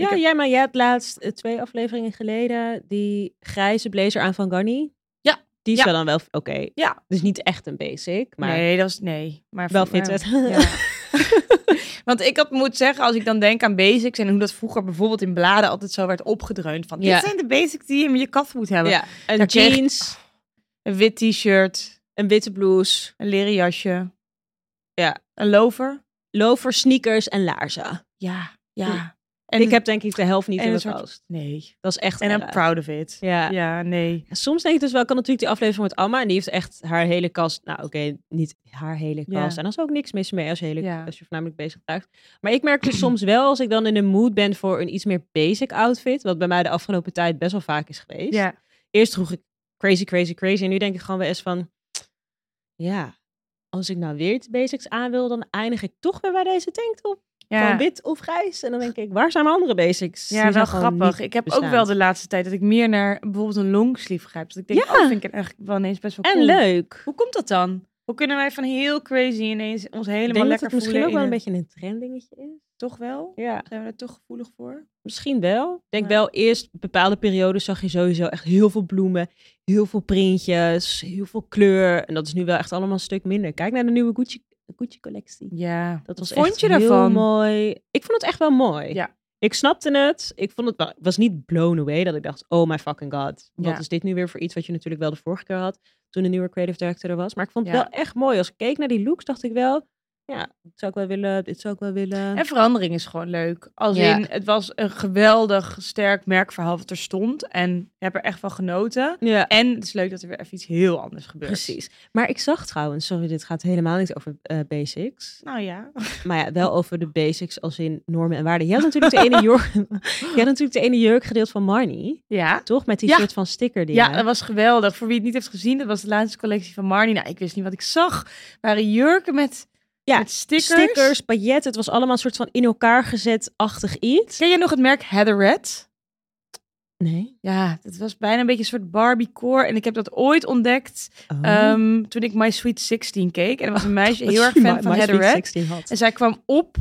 [SPEAKER 2] Ja,
[SPEAKER 1] heb-
[SPEAKER 2] jij, maar jij hebt laatst eh, twee afleveringen geleden die grijze blazer aan van Garni.
[SPEAKER 1] Ja.
[SPEAKER 2] Die is
[SPEAKER 1] Ja.
[SPEAKER 2] wel dan wel, oké.
[SPEAKER 1] Ja.
[SPEAKER 2] Dus niet echt een basic, maar
[SPEAKER 1] nee, dat is nee. Maar
[SPEAKER 2] wel
[SPEAKER 1] voor-
[SPEAKER 2] fitted.
[SPEAKER 1] ja. Ja. Want ik had moet zeggen, als ik dan denk aan basics en hoe dat vroeger bijvoorbeeld in bladen altijd zo werd opgedreund van,
[SPEAKER 2] Ja.
[SPEAKER 1] dit zijn de basics die je in je kast moet hebben.
[SPEAKER 2] Ja. Een
[SPEAKER 1] Daar kreeg-
[SPEAKER 2] jeans,
[SPEAKER 1] Een wit t-shirt,
[SPEAKER 2] een witte blouse,
[SPEAKER 1] een leren jasje.
[SPEAKER 2] Ja.
[SPEAKER 1] Een lover.
[SPEAKER 2] lover, sneakers en laarzen.
[SPEAKER 1] Ja,
[SPEAKER 2] Ja.
[SPEAKER 1] ja.
[SPEAKER 2] En ik heb denk ik de helft niet
[SPEAKER 1] en
[SPEAKER 2] in
[SPEAKER 1] een
[SPEAKER 2] mijn
[SPEAKER 1] soort-
[SPEAKER 2] kast.
[SPEAKER 1] Nee.
[SPEAKER 2] Dat is echt
[SPEAKER 1] En I'm
[SPEAKER 2] erg.
[SPEAKER 1] proud of it.
[SPEAKER 2] Ja.
[SPEAKER 1] Ja, nee.
[SPEAKER 2] En Soms denk ik dus wel, ik had natuurlijk die aflevering met Amma. En die heeft echt haar hele kast. Nou, oké, niet haar hele
[SPEAKER 1] Ja.
[SPEAKER 2] kast. En daar is ook niks mis mee als je, hele,
[SPEAKER 1] Ja.
[SPEAKER 2] als je voornamelijk bezig raakt. Maar ik merk dus soms wel, als ik dan in de mood ben voor een iets meer basic outfit. Wat bij mij de afgelopen tijd best wel vaak is geweest.
[SPEAKER 1] Ja.
[SPEAKER 2] Eerst droeg ik crazy, crazy, crazy. En nu denk ik gewoon wel eens van. Ja, als ik nou weer de basics aan wil, dan eindig ik toch weer bij deze tanktop. Van
[SPEAKER 1] ja.
[SPEAKER 2] wit of grijs. En dan denk ik, waar zijn mijn andere basics? Die
[SPEAKER 1] Ja, wel
[SPEAKER 2] zijn gewoon
[SPEAKER 1] grappig.
[SPEAKER 2] niet
[SPEAKER 1] Ik heb ook
[SPEAKER 2] bestaand.
[SPEAKER 1] wel de laatste tijd dat ik meer naar bijvoorbeeld een longsleeve grijp. Dat ik denk,
[SPEAKER 2] Ja.
[SPEAKER 1] oh, vind ik eigenlijk wel ineens best wel
[SPEAKER 2] En
[SPEAKER 1] cool.
[SPEAKER 2] leuk.
[SPEAKER 1] Hoe komt dat dan? Hoe kunnen wij van heel crazy ineens ons helemaal
[SPEAKER 2] Ik denk dat
[SPEAKER 1] lekker
[SPEAKER 2] het misschien
[SPEAKER 1] voelen
[SPEAKER 2] ook wel een
[SPEAKER 1] in
[SPEAKER 2] beetje een trenddingetje is.
[SPEAKER 1] Toch wel?
[SPEAKER 2] Ja,
[SPEAKER 1] Zijn we daar toch gevoelig voor?
[SPEAKER 2] misschien wel. Ik denk
[SPEAKER 1] Ja.
[SPEAKER 2] wel, eerst bepaalde periodes zag je sowieso echt heel veel bloemen, heel veel printjes, heel veel kleur. En dat is nu wel echt allemaal een stuk minder. Kijk naar de nieuwe Gucci, Gucci collectie.
[SPEAKER 1] Ja.
[SPEAKER 2] Dat was
[SPEAKER 1] vond
[SPEAKER 2] echt
[SPEAKER 1] je
[SPEAKER 2] heel
[SPEAKER 1] daarvan?
[SPEAKER 2] mooi. Ik vond het echt wel mooi.
[SPEAKER 1] Ja.
[SPEAKER 2] Ik snapte het. Ik vond het wel, ik was niet blown away dat ik dacht, oh my fucking god. Wat
[SPEAKER 1] Ja.
[SPEAKER 2] is dit nu weer voor iets wat je natuurlijk wel de vorige keer had, toen de nieuwe creative director er was. Maar ik vond het
[SPEAKER 1] Ja.
[SPEAKER 2] wel echt mooi. Als ik keek naar die looks, dacht ik wel, ja, dit zou ik wel willen, dit zou ik wel willen.
[SPEAKER 1] En verandering is gewoon leuk. Als
[SPEAKER 2] Ja.
[SPEAKER 1] in, het was een geweldig sterk merkverhaal wat er stond. En ik heb er echt van genoten.
[SPEAKER 2] ja.
[SPEAKER 1] En het is leuk dat er weer even iets heel anders gebeurt.
[SPEAKER 2] Precies. Maar ik zag trouwens, sorry, dit gaat helemaal niet over eh, basics.
[SPEAKER 1] Nou ja.
[SPEAKER 2] Maar ja, wel over de basics als in normen en waarden. Je had natuurlijk de ene jurk, je had natuurlijk de ene jurk gedeeld van Marnie.
[SPEAKER 1] Ja.
[SPEAKER 2] Toch? Met die
[SPEAKER 1] Ja.
[SPEAKER 2] soort van sticker die
[SPEAKER 1] Ja,
[SPEAKER 2] je-
[SPEAKER 1] dat was geweldig. Voor wie het niet heeft gezien, dat was de laatste collectie van Marnie. Nou, ik wist niet wat ik zag. waren jurken met,
[SPEAKER 2] Ja,
[SPEAKER 1] met stickers.
[SPEAKER 2] stickers, pailletten. Het was allemaal een soort van in elkaar gezet-achtig iets.
[SPEAKER 1] Ken jij nog het merk Heatherette?
[SPEAKER 2] Nee.
[SPEAKER 1] Ja, dat was bijna een beetje een soort Barbiecore. En ik heb dat ooit ontdekt
[SPEAKER 2] Oh.
[SPEAKER 1] ehm, toen ik My Sweet 16 keek. En er was een meisje
[SPEAKER 2] Dat
[SPEAKER 1] heel erg
[SPEAKER 2] je
[SPEAKER 1] fan
[SPEAKER 2] My-
[SPEAKER 1] van
[SPEAKER 2] My Sweet
[SPEAKER 1] Heatherette.
[SPEAKER 2] 16 had.
[SPEAKER 1] En zij kwam op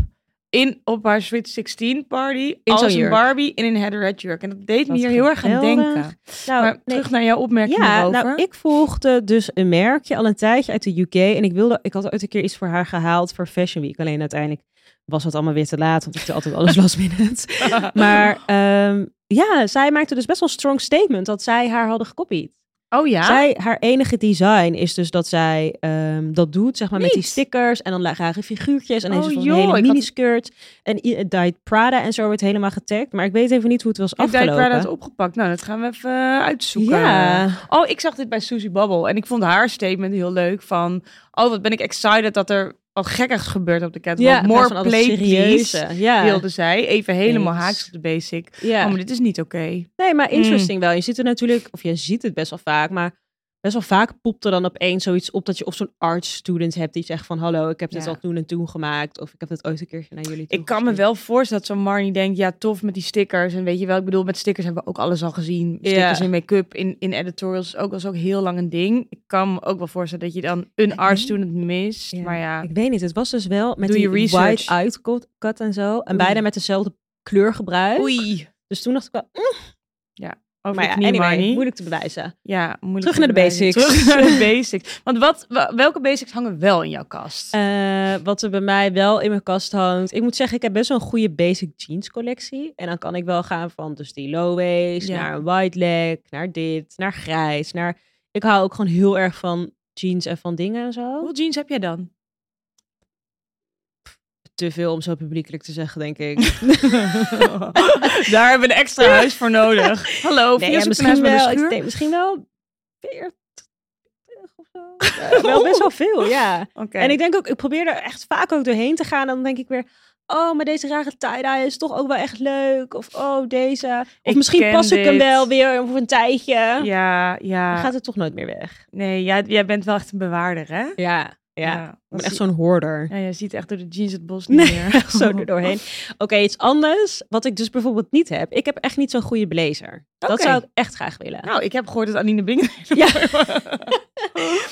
[SPEAKER 1] in, op haar Sweet 16 party
[SPEAKER 2] In zo'n
[SPEAKER 1] als een
[SPEAKER 2] jurk.
[SPEAKER 1] Barbie in een head jurk. En dat deed me
[SPEAKER 2] Wat
[SPEAKER 1] hier heel erg aan
[SPEAKER 2] geweldig.
[SPEAKER 1] denken.
[SPEAKER 2] Nou,
[SPEAKER 1] maar
[SPEAKER 2] nee,
[SPEAKER 1] terug naar jouw opmerking
[SPEAKER 2] ja,
[SPEAKER 1] hierover.
[SPEAKER 2] nou, ik volgde dus een merkje al een tijdje uit de UK. En ik wilde, ik had ooit een keer iets voor haar gehaald voor Fashion Week. Alleen uiteindelijk was het allemaal weer te laat, want ik doe altijd alles last minute. Maar ehm, ja, zij maakte dus best wel een strong statement dat zij haar hadden gekopied.
[SPEAKER 1] oh ja?
[SPEAKER 2] Zij, haar enige design is dus dat zij ehm, dat doet, zeg maar, met die
[SPEAKER 1] Niet.
[SPEAKER 2] stickers en dan lage figuurtjes en
[SPEAKER 1] Oh,
[SPEAKER 2] dan heeft ze
[SPEAKER 1] joh,
[SPEAKER 2] zo'n hele
[SPEAKER 1] ik had-
[SPEAKER 2] miniskirt. En i- Diet Prada en zo werd helemaal getagd, maar ik weet even niet hoe het was
[SPEAKER 1] Heeft Diet
[SPEAKER 2] afgelopen.
[SPEAKER 1] Prada het opgepakt? Nou, dat gaan we even eh, uitzoeken.
[SPEAKER 2] Ja,
[SPEAKER 1] Oh, ik zag dit bij Susie Babbel en ik vond haar statement heel leuk van... Oh, wat ben ik excited dat er wat gekkigs gebeurt op de catwalk.
[SPEAKER 2] ja,
[SPEAKER 1] More
[SPEAKER 2] van
[SPEAKER 1] play, please,
[SPEAKER 2] serieuze. Ja.
[SPEAKER 1] wilde zij. Even helemaal
[SPEAKER 2] Eens.
[SPEAKER 1] haaks op de basic.
[SPEAKER 2] ja.
[SPEAKER 1] Oh, maar dit is niet oké.
[SPEAKER 2] Nee, maar
[SPEAKER 1] Mm.
[SPEAKER 2] interesting wel. Je ziet er natuurlijk, of je ziet het best wel vaak, maar best wel vaak popt er dan opeens zoiets op dat je of zo'n art student hebt die zegt van hallo, ik heb dit
[SPEAKER 1] Ja.
[SPEAKER 2] al toen en toen gemaakt of ik heb dit ooit een keertje naar jullie
[SPEAKER 1] Ik kan me wel voorstellen dat zo'n Marnie denkt, ja, tof met die stickers. En weet je wel, ik bedoel, met stickers hebben we ook alles al gezien. Stickers
[SPEAKER 2] Ja.
[SPEAKER 1] in make-up, in, in editorials, is ook was ook heel lang een ding. Ik kan me ook wel voorstellen dat je dan een art
[SPEAKER 2] denk-
[SPEAKER 1] student mist.
[SPEAKER 2] Ja.
[SPEAKER 1] Maar ja,
[SPEAKER 2] Ik weet niet, het was dus wel met
[SPEAKER 1] Doe
[SPEAKER 2] die
[SPEAKER 1] je research.
[SPEAKER 2] white-out cut- cut en zo. En beide met dezelfde kleurgebruik.
[SPEAKER 1] oei.
[SPEAKER 2] Dus toen dacht ik wel, mm,
[SPEAKER 1] Over
[SPEAKER 2] maar
[SPEAKER 1] maar
[SPEAKER 2] ja,
[SPEAKER 1] knie,
[SPEAKER 2] anyway,
[SPEAKER 1] Marnie.
[SPEAKER 2] moeilijk te bewijzen.
[SPEAKER 1] Ja, moeilijk
[SPEAKER 2] Terug
[SPEAKER 1] te
[SPEAKER 2] naar de
[SPEAKER 1] bewijzen.
[SPEAKER 2] basics.
[SPEAKER 1] Terug naar de basics. Want wat, wa- welke basics hangen wel in jouw kast?
[SPEAKER 2] Eh, wat er bij mij wel in mijn kast hangt. Ik moet zeggen, ik heb best wel een goede basic jeans collectie. En dan kan ik wel gaan van dus die low waist,
[SPEAKER 1] Ja.
[SPEAKER 2] naar een wide leg, naar dit, naar grijs. Naar... Ik hou ook gewoon heel erg van jeans en van dingen en zo.
[SPEAKER 1] Hoeveel jeans heb jij dan?
[SPEAKER 2] Te veel om zo publiekelijk te zeggen, denk ik.
[SPEAKER 1] Daar hebben we een extra huis voor nodig. Hallo,
[SPEAKER 2] Nee,
[SPEAKER 1] via
[SPEAKER 2] ja,
[SPEAKER 1] zoek
[SPEAKER 2] misschien,
[SPEAKER 1] naar huis met
[SPEAKER 2] wel,
[SPEAKER 1] een
[SPEAKER 2] ik
[SPEAKER 1] schuur?
[SPEAKER 2] denk, misschien wel 40 of zo. Eh, wel best wel veel, ja.
[SPEAKER 1] Oké.
[SPEAKER 2] En ik denk ook, ik probeer er echt vaak ook doorheen te gaan. En dan denk ik weer, oh, maar deze rare tie-dye is toch ook wel echt leuk. Of oh, deze. Of
[SPEAKER 1] Ik
[SPEAKER 2] misschien
[SPEAKER 1] ken
[SPEAKER 2] pas ik hem
[SPEAKER 1] dit.
[SPEAKER 2] wel weer voor een tijdje.
[SPEAKER 1] Ja,
[SPEAKER 2] Dan
[SPEAKER 1] ja.
[SPEAKER 2] gaat het toch nooit meer weg.
[SPEAKER 1] Nee, jij, jij bent wel echt een bewaarder, hè?
[SPEAKER 2] Ja,
[SPEAKER 1] dat zie-
[SPEAKER 2] zo'n hoorder.
[SPEAKER 1] Ja, jij ziet echt door de jeans het bos niet
[SPEAKER 2] Nee,
[SPEAKER 1] meer.
[SPEAKER 2] echt zo er doorheen. Oké, iets anders. Wat ik dus bijvoorbeeld niet heb. Ik heb echt niet zo'n goede blazer. Dat
[SPEAKER 1] Oké.
[SPEAKER 2] zou ik echt graag willen.
[SPEAKER 1] Nou, ik heb gehoord dat Anine Bingen...
[SPEAKER 2] Ja.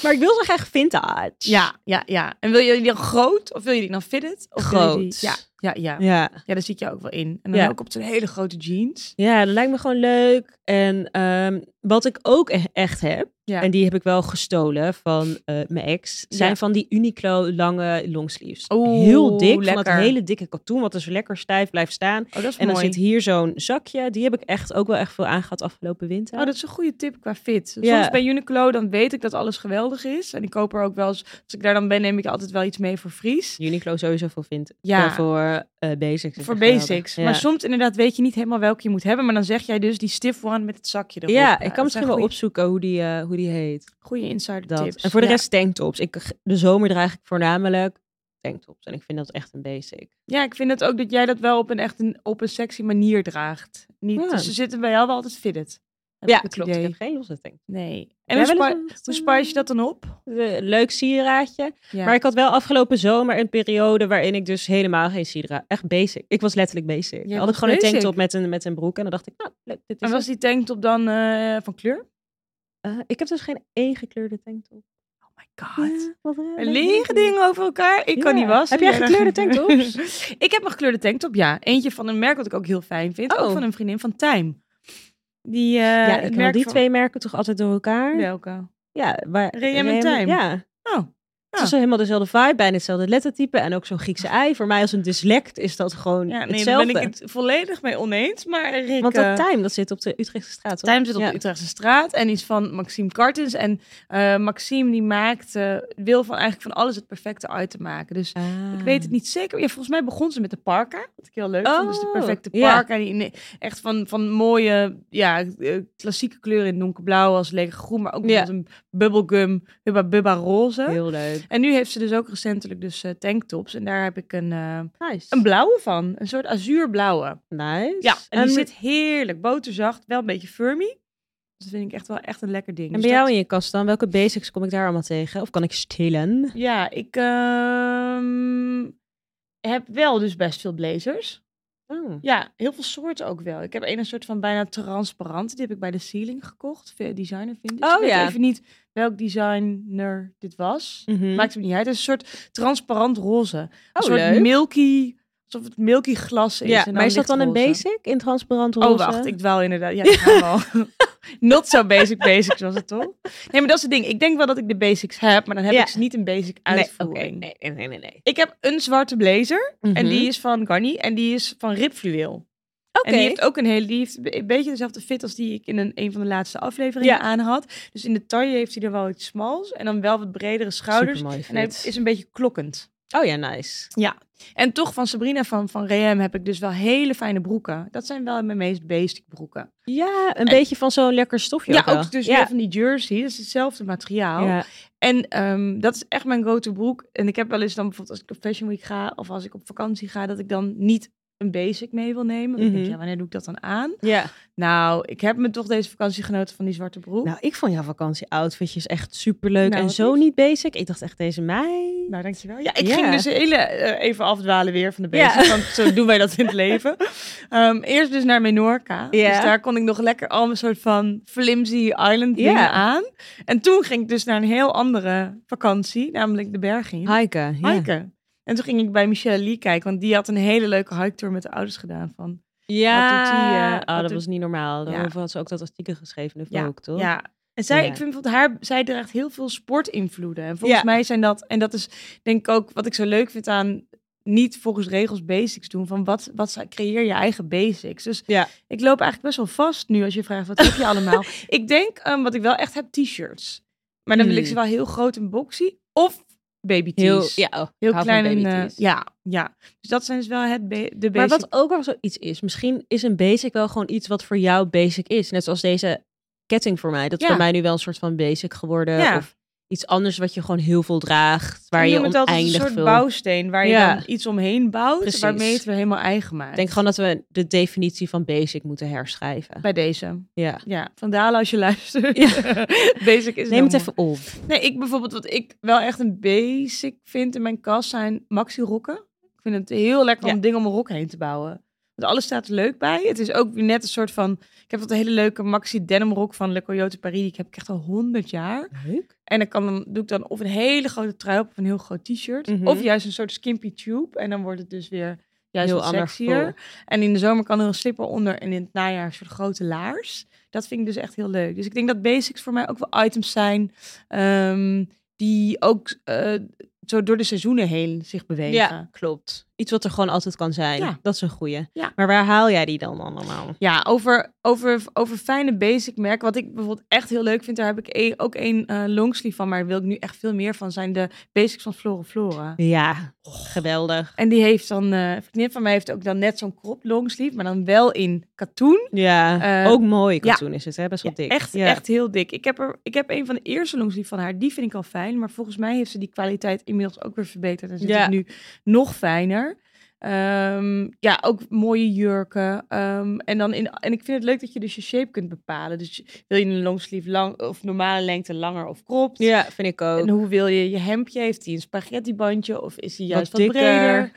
[SPEAKER 2] Maar ik wil zo graag vintage.
[SPEAKER 1] ja, ja, ja. En wil je die dan groot of wil je die dan fitted? Of wil je die-
[SPEAKER 2] Groot.
[SPEAKER 1] Ja, ja, ja.
[SPEAKER 2] Ja.
[SPEAKER 1] Ja, daar zie ik je ook wel in. En dan
[SPEAKER 2] Ja.
[SPEAKER 1] ook op zo'n hele grote jeans.
[SPEAKER 2] Ja, dat lijkt me gewoon leuk. En ehm, wat ik ook e- echt heb,
[SPEAKER 1] Ja.
[SPEAKER 2] en die heb ik wel gestolen van eh, mijn ex, zijn
[SPEAKER 1] Ja.
[SPEAKER 2] van die Uniqlo lange longsleeves.
[SPEAKER 1] Oeh,
[SPEAKER 2] Heel dik, van
[SPEAKER 1] lekker.
[SPEAKER 2] dat hele dikke katoen, wat dus lekker stijf blijft staan.
[SPEAKER 1] Oh, dat is
[SPEAKER 2] En dan
[SPEAKER 1] mooi.
[SPEAKER 2] zit hier zo'n zakje, die heb ik echt ook wel echt veel aangehad afgelopen winter.
[SPEAKER 1] Oh, dat is een goede tip qua fit.
[SPEAKER 2] Ja.
[SPEAKER 1] Soms bij Uniqlo, dan weet ik dat alles geweldig is. En ik koop er ook wel eens... Als ik daar dan ben, neem ik altijd wel iets mee voor Fries.
[SPEAKER 2] Uniqlo sowieso voor vindt.
[SPEAKER 1] Ja.
[SPEAKER 2] voor eh, basics. is
[SPEAKER 1] Voor
[SPEAKER 2] echt geweldig.
[SPEAKER 1] basics.
[SPEAKER 2] Ja.
[SPEAKER 1] Maar soms inderdaad weet je niet helemaal welke je moet hebben. Maar dan zeg jij dus die stiff one met het zakje erop.
[SPEAKER 2] ja,
[SPEAKER 1] Oh, dat
[SPEAKER 2] ik kan
[SPEAKER 1] zijn
[SPEAKER 2] misschien wel
[SPEAKER 1] goeie-
[SPEAKER 2] opzoeken hoe die, eh, hoe die heet.
[SPEAKER 1] Goede insider
[SPEAKER 2] Dat.
[SPEAKER 1] tips.
[SPEAKER 2] En voor de
[SPEAKER 1] Ja.
[SPEAKER 2] rest tanktops. Ik, de zomer draag ik voornamelijk tanktops. En ik vind dat echt een basic.
[SPEAKER 1] Ja, ik vind het ook dat jij dat wel op een echt een, op een sexy manier draagt. Niet,
[SPEAKER 2] Ja.
[SPEAKER 1] Dus ze zitten bij jou wel altijd fitted. Heb
[SPEAKER 2] Ja,
[SPEAKER 1] ik het
[SPEAKER 2] klopt.
[SPEAKER 1] idee.
[SPEAKER 2] Ik heb geen losse tank.
[SPEAKER 1] Nee.
[SPEAKER 2] Jij
[SPEAKER 1] En hoe,
[SPEAKER 2] wel eens
[SPEAKER 1] spi-
[SPEAKER 2] een-
[SPEAKER 1] hoe spice je dat dan op?
[SPEAKER 2] Eh, Leuk sieraadje.
[SPEAKER 1] Ja.
[SPEAKER 2] Maar ik had wel afgelopen zomer een periode waarin ik dus helemaal geen sieraad... Echt basic. Ik was letterlijk basic.
[SPEAKER 1] Jij
[SPEAKER 2] had
[SPEAKER 1] was
[SPEAKER 2] ik gewoon
[SPEAKER 1] basic.
[SPEAKER 2] een tanktop met een, met een broek. En dan dacht ik, nou, leuk, dit is
[SPEAKER 1] en was
[SPEAKER 2] het.
[SPEAKER 1] die tanktop dan eh, van kleur?
[SPEAKER 2] Eh, ik heb dus geen één gekleurde tanktop.
[SPEAKER 1] Oh my god.
[SPEAKER 2] Ja, wat raar.
[SPEAKER 1] Er liggen dingen over elkaar. Ik kan
[SPEAKER 2] Ja.
[SPEAKER 1] niet wassen.
[SPEAKER 2] Heb jij gekleurde
[SPEAKER 1] dan-
[SPEAKER 2] tanktops?
[SPEAKER 1] ik heb een gekleurde tanktop, ja. Eentje van een merk wat ik ook heel fijn vind. Ook
[SPEAKER 2] Oh.
[SPEAKER 1] van een vriendin van Time. Die, eh,
[SPEAKER 2] Ja,
[SPEAKER 1] het
[SPEAKER 2] ik haal
[SPEAKER 1] merk
[SPEAKER 2] die
[SPEAKER 1] van-
[SPEAKER 2] twee merken toch altijd door elkaar. Ja,
[SPEAKER 1] Welke?
[SPEAKER 2] waar...
[SPEAKER 1] Reem en Tijm.
[SPEAKER 2] Ja.
[SPEAKER 1] Oh,
[SPEAKER 2] Het is helemaal dezelfde vibe, bijna hetzelfde lettertype en ook zo'n Griekse ei. Voor mij als een dyslect is dat gewoon
[SPEAKER 1] Ah. ja, nee, daar
[SPEAKER 2] hetzelfde.
[SPEAKER 1] ben ik het volledig mee oneens. Maar Rick,
[SPEAKER 2] Want
[SPEAKER 1] eh,
[SPEAKER 2] dat time, dat zit op de Utrechtse straat. toch?
[SPEAKER 1] Time zit op
[SPEAKER 2] Ja.
[SPEAKER 1] de Utrechtse straat en is van Maxime Kartens. En eh, Maxime die maakt, eh, wil van eigenlijk van alles het perfecte uit te maken. Dus ik weet
[SPEAKER 2] Ah,
[SPEAKER 1] het niet zeker. Ja, volgens mij begon ze met de parka, wat ik heel leuk vond. Dus de
[SPEAKER 2] Mm. Oh,
[SPEAKER 1] perfecte
[SPEAKER 2] ja.
[SPEAKER 1] parka, die in- echt van, van mooie ja, eh, klassieke kleuren in donkerblauw als lekker groen. Maar ook
[SPEAKER 2] Ja.
[SPEAKER 1] bijvoorbeeld een bubblegum, hubba bubba roze.
[SPEAKER 2] Heel leuk.
[SPEAKER 1] En nu heeft ze dus ook recentelijk dus eh, tanktops. En daar heb ik een, eh,
[SPEAKER 2] Nice.
[SPEAKER 1] een blauwe van, een soort azuurblauwe.
[SPEAKER 2] Nice. Ehm,
[SPEAKER 1] Ja, en die
[SPEAKER 2] En-
[SPEAKER 1] zit heerlijk boterzacht, wel een beetje firmy. Dus Dat vind ik echt wel echt een lekker ding.
[SPEAKER 2] En
[SPEAKER 1] Dus
[SPEAKER 2] bij jou
[SPEAKER 1] dat-
[SPEAKER 2] in je kast dan, welke basics kom ik daar allemaal tegen? Of kan ik stelen?
[SPEAKER 1] Ja, ik ehm, heb wel dus best veel blazers.
[SPEAKER 2] Oh.
[SPEAKER 1] Ja, heel veel soorten ook wel. Ik heb een, een soort van bijna transparante, die heb ik bij de ceiling gekocht. via Designer vintage.
[SPEAKER 2] Oh,
[SPEAKER 1] ik weet
[SPEAKER 2] ja.
[SPEAKER 1] even niet welk designer dit was.
[SPEAKER 2] Mhm.
[SPEAKER 1] Maakt het niet uit. Het is een soort transparant roze. Een
[SPEAKER 2] Oh,
[SPEAKER 1] soort
[SPEAKER 2] leuk.
[SPEAKER 1] milky, Alsof het milky glas is.
[SPEAKER 2] Ja,
[SPEAKER 1] en
[SPEAKER 2] maar is dat dan een
[SPEAKER 1] lichtroze.
[SPEAKER 2] basic in transparant roze?
[SPEAKER 1] Oh, wacht, ik dwaal inderdaad. Ja, ik dwaal wel. Not so basic basics was het toch? Nee, maar dat is het ding. Ik denk wel dat ik de basics heb, maar dan heb
[SPEAKER 2] Ja.
[SPEAKER 1] ik ze niet een basic
[SPEAKER 2] Nee,
[SPEAKER 1] uitvoering.
[SPEAKER 2] oké, nee, nee, nee, nee. nee.
[SPEAKER 1] Ik heb een zwarte blazer en
[SPEAKER 2] Mhm.
[SPEAKER 1] die is van Garni en die is van ribfluweel.
[SPEAKER 2] Oké.
[SPEAKER 1] En die heeft ook een hele, die heeft een beetje dezelfde fit als die ik in een, een van de laatste afleveringen
[SPEAKER 2] Ja.
[SPEAKER 1] aan had. Dus in de taille heeft hij er wel iets smals en dan wel wat bredere schouders.
[SPEAKER 2] Supermooi
[SPEAKER 1] en hij
[SPEAKER 2] fit.
[SPEAKER 1] is een beetje klokkend.
[SPEAKER 2] Oh ja, nice.
[SPEAKER 1] En toch van Sabrina van, van Rem heb ik dus wel hele fijne broeken. Dat zijn wel mijn meest basic broeken.
[SPEAKER 2] Ja, een beetje van zo'n lekker stofje.
[SPEAKER 1] Ja,
[SPEAKER 2] wel.
[SPEAKER 1] ook dus weer
[SPEAKER 2] ja.
[SPEAKER 1] van die jersey. Dat is hetzelfde materiaal.
[SPEAKER 2] Ja.
[SPEAKER 1] En ehm, dat is echt mijn go-to broek. En ik heb wel eens dan bijvoorbeeld als ik op Fashion Week ga... of als ik op vakantie ga, dat ik dan niet een basic mee wil nemen. Want ik denk,
[SPEAKER 2] Mhm.
[SPEAKER 1] ja, wanneer doe ik dat dan aan?
[SPEAKER 2] ja.
[SPEAKER 1] Nou, ik heb me toch deze vakantie genoten van die zwarte broek. Nou,
[SPEAKER 2] Nou, ik vond jouw vakantieoutfitjes echt superleuk
[SPEAKER 1] Nou,
[SPEAKER 2] en
[SPEAKER 1] wat
[SPEAKER 2] zo
[SPEAKER 1] lief.
[SPEAKER 2] niet basic. Ik dacht echt deze mei.
[SPEAKER 1] Nou, dankjewel. Ja, ik
[SPEAKER 2] Ja.
[SPEAKER 1] ging dus hele, eh, even afdwalen weer van de
[SPEAKER 2] Ja.
[SPEAKER 1] basics. Want zo doen wij dat in het leven. Ehm, eerst dus naar Menorca.
[SPEAKER 2] Ja.
[SPEAKER 1] Dus daar kon ik nog lekker al een soort van flimsy island dingen
[SPEAKER 2] Ja.
[SPEAKER 1] aan. En toen ging ik dus naar een heel andere vakantie. Namelijk de berg in.
[SPEAKER 2] Hiken. Ja.
[SPEAKER 1] hiken. En toen ging ik bij Michelle Lee kijken, want die had een hele leuke hike tour met de ouders gedaan. Van,
[SPEAKER 2] Ja.
[SPEAKER 1] Wat doet die, eh, wat
[SPEAKER 2] oh, dat
[SPEAKER 1] doet-
[SPEAKER 2] was niet normaal.
[SPEAKER 1] Ja.
[SPEAKER 2] Daarover had ze ook dat artikel geschreven in de
[SPEAKER 1] Ja,
[SPEAKER 2] Volk, toch?
[SPEAKER 1] ja. En zij,
[SPEAKER 2] Ja.
[SPEAKER 1] ik vind bijvoorbeeld haar, zij draagt heel veel sportinvloeden. En volgens
[SPEAKER 2] Ja.
[SPEAKER 1] mij zijn dat, en dat is denk ik ook wat ik zo leuk vind aan niet volgens regels basics doen. Van wat, wat zou- creëer je eigen basics? Dus
[SPEAKER 2] Ja.
[SPEAKER 1] ik loop eigenlijk best wel vast nu als je vraagt wat heb je allemaal. Ik denk ehm, wat ik wel echt heb, t-shirts. Maar dan wil ik
[SPEAKER 2] Hmm.
[SPEAKER 1] ze wel heel groot en boxy of baby tees.
[SPEAKER 2] Heel, ja, oh, ik
[SPEAKER 1] heel
[SPEAKER 2] hou van
[SPEAKER 1] klein en eh,
[SPEAKER 2] babytees.
[SPEAKER 1] ja, ja. Dus dat zijn dus wel het ba- de basics.
[SPEAKER 2] Maar wat ook wel zoiets is, misschien is een basic wel gewoon iets wat voor jou basic is. Net zoals deze ketting voor mij. Dat is
[SPEAKER 1] Ja.
[SPEAKER 2] voor mij nu wel een soort van basic geworden.
[SPEAKER 1] Ja.
[SPEAKER 2] eh, Of iets anders wat je gewoon heel veel draagt. Waar
[SPEAKER 1] Ik
[SPEAKER 2] je
[SPEAKER 1] noem het altijd
[SPEAKER 2] oneindig
[SPEAKER 1] een soort
[SPEAKER 2] veel...
[SPEAKER 1] bouwsteen waar je
[SPEAKER 2] Ja.
[SPEAKER 1] dan iets omheen bouwt,
[SPEAKER 2] Precies.
[SPEAKER 1] waarmee je het weer helemaal eigen maakt.
[SPEAKER 2] Ik denk gewoon dat we de definitie van basic moeten herschrijven.
[SPEAKER 1] bij deze.
[SPEAKER 2] Ja.
[SPEAKER 1] Ja, van Dalen als je luistert.
[SPEAKER 2] Ja.
[SPEAKER 1] basic is
[SPEAKER 2] Neem het
[SPEAKER 1] no
[SPEAKER 2] even op.
[SPEAKER 1] more. Nee, ik bijvoorbeeld wat ik wel echt een basic vind in mijn kast zijn maxi rokken. Ik vind het heel lekker om
[SPEAKER 2] Ja.
[SPEAKER 1] dingen om een rok heen te bouwen. Want alles staat er leuk bij. Het is ook weer net een soort van. Ik heb wat een hele leuke maxi denim rok van Le Coyote Paris. Die ik heb ik echt al honderd jaar.
[SPEAKER 2] Leuk.
[SPEAKER 1] En dan, kan, dan doe ik dan of een hele grote trui op of een heel groot t-shirt.
[SPEAKER 2] Mhm.
[SPEAKER 1] Of juist een soort skimpy tube. En dan wordt het dus weer juist
[SPEAKER 2] Heel
[SPEAKER 1] wat
[SPEAKER 2] ander
[SPEAKER 1] sexier. En in de zomer kan er een slipper onder. En in het najaar een soort grote laars. Dat vind ik dus echt heel leuk. Dus ik denk dat basics voor mij ook wel items zijn... ehm, die ook eh, zo door de seizoenen heen zich bewegen.
[SPEAKER 2] Ja, klopt. Iets wat er gewoon altijd kan zijn.
[SPEAKER 1] Ja.
[SPEAKER 2] Dat is een goeie.
[SPEAKER 1] Ja.
[SPEAKER 2] Maar waar haal jij die dan allemaal?
[SPEAKER 1] Ja, over, over, over fijne basic merken. Wat ik bijvoorbeeld echt heel leuk vind, daar heb ik e- ook één eh, longsleeve van, maar daar wil ik nu echt veel meer van, zijn de basics van Flora Flora.
[SPEAKER 2] Ja, geweldig.
[SPEAKER 1] En die heeft dan, eh, een vriendin van mij heeft ook dan net zo'n crop longsleeve, maar dan wel in katoen.
[SPEAKER 2] Ja,
[SPEAKER 1] Eh,
[SPEAKER 2] ook mooi
[SPEAKER 1] ja.
[SPEAKER 2] katoen is het, hè? Best wel dik.
[SPEAKER 1] Echt,
[SPEAKER 2] ja.
[SPEAKER 1] echt heel dik. Ik heb, er, ik heb een van de eerste longsleeve van haar, die vind ik al fijn. Maar volgens mij heeft ze die kwaliteit inmiddels ook weer verbeterd. En zit
[SPEAKER 2] Ja.
[SPEAKER 1] het nu nog fijner. Ehm, ja, ook mooie jurken. Ehm, en, dan in, en ik vind het leuk dat je dus je shape kunt bepalen. Dus je- wil je een longsleeve lang of normale lengte langer of cropped?
[SPEAKER 2] Ja, vind ik ook.
[SPEAKER 1] En hoe wil je je hemdje? Heeft hij een spaghettibandje of is hij
[SPEAKER 2] Wat
[SPEAKER 1] juist wat,
[SPEAKER 2] dikker.
[SPEAKER 1] breder?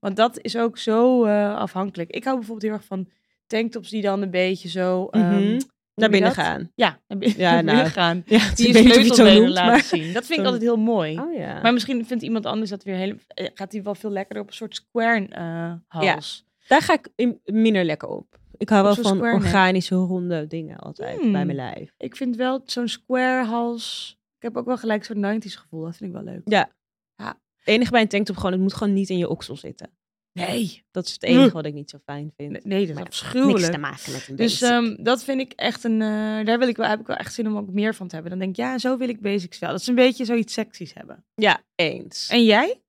[SPEAKER 1] Want dat is ook zo eh, afhankelijk. Ik hou bijvoorbeeld heel erg van tanktops die dan een beetje zo ehm,
[SPEAKER 2] Mhm.
[SPEAKER 1] hoe noem je
[SPEAKER 2] Naar binnen
[SPEAKER 1] dat?
[SPEAKER 2] gaan.
[SPEAKER 1] Ja, naar binnen,
[SPEAKER 2] Ja,
[SPEAKER 1] naar binnen
[SPEAKER 2] nou,
[SPEAKER 1] gaan.
[SPEAKER 2] Ja, het
[SPEAKER 1] Die
[SPEAKER 2] is
[SPEAKER 1] je
[SPEAKER 2] een beetje zo
[SPEAKER 1] sleutelbenen
[SPEAKER 2] noemt,
[SPEAKER 1] laten
[SPEAKER 2] maar-
[SPEAKER 1] zien. Dat vind ik
[SPEAKER 2] Zo-
[SPEAKER 1] altijd heel mooi.
[SPEAKER 2] Oh ja.
[SPEAKER 1] Maar misschien vindt iemand anders dat weer heel... eh, Gaat hij wel veel lekkerder op een soort square eh, hals.
[SPEAKER 2] Daar ga ik in- minder lekker op. Ik hou
[SPEAKER 1] Op
[SPEAKER 2] wel
[SPEAKER 1] zo'n
[SPEAKER 2] van
[SPEAKER 1] square neck.
[SPEAKER 2] organische, ronde dingen altijd
[SPEAKER 1] Hmm.
[SPEAKER 2] bij mijn lijf.
[SPEAKER 1] Ik vind wel zo'n square hals... Ik heb ook wel gelijk zo'n 90s gevoel. Dat vind ik wel leuk.
[SPEAKER 2] Het enige bij een tanktop gewoon, het moet gewoon niet in je oksel zitten.
[SPEAKER 1] Nee.
[SPEAKER 2] Dat is het
[SPEAKER 1] Ugh.
[SPEAKER 2] enige wat ik niet zo fijn vind.
[SPEAKER 1] Hm. Nee, nee, dat is
[SPEAKER 2] Maar
[SPEAKER 1] afschuwelijk.
[SPEAKER 2] Niks te maken met een
[SPEAKER 1] Dus
[SPEAKER 2] basic.
[SPEAKER 1] ehm, dat vind ik echt een. eh, daar wil ik wel, heb ik wel echt zin om ook meer van te hebben. Dan denk ik, ja, zo wil ik basics wel. Dat ze een beetje zoiets seksies hebben.
[SPEAKER 2] ja, eens.
[SPEAKER 1] En jij?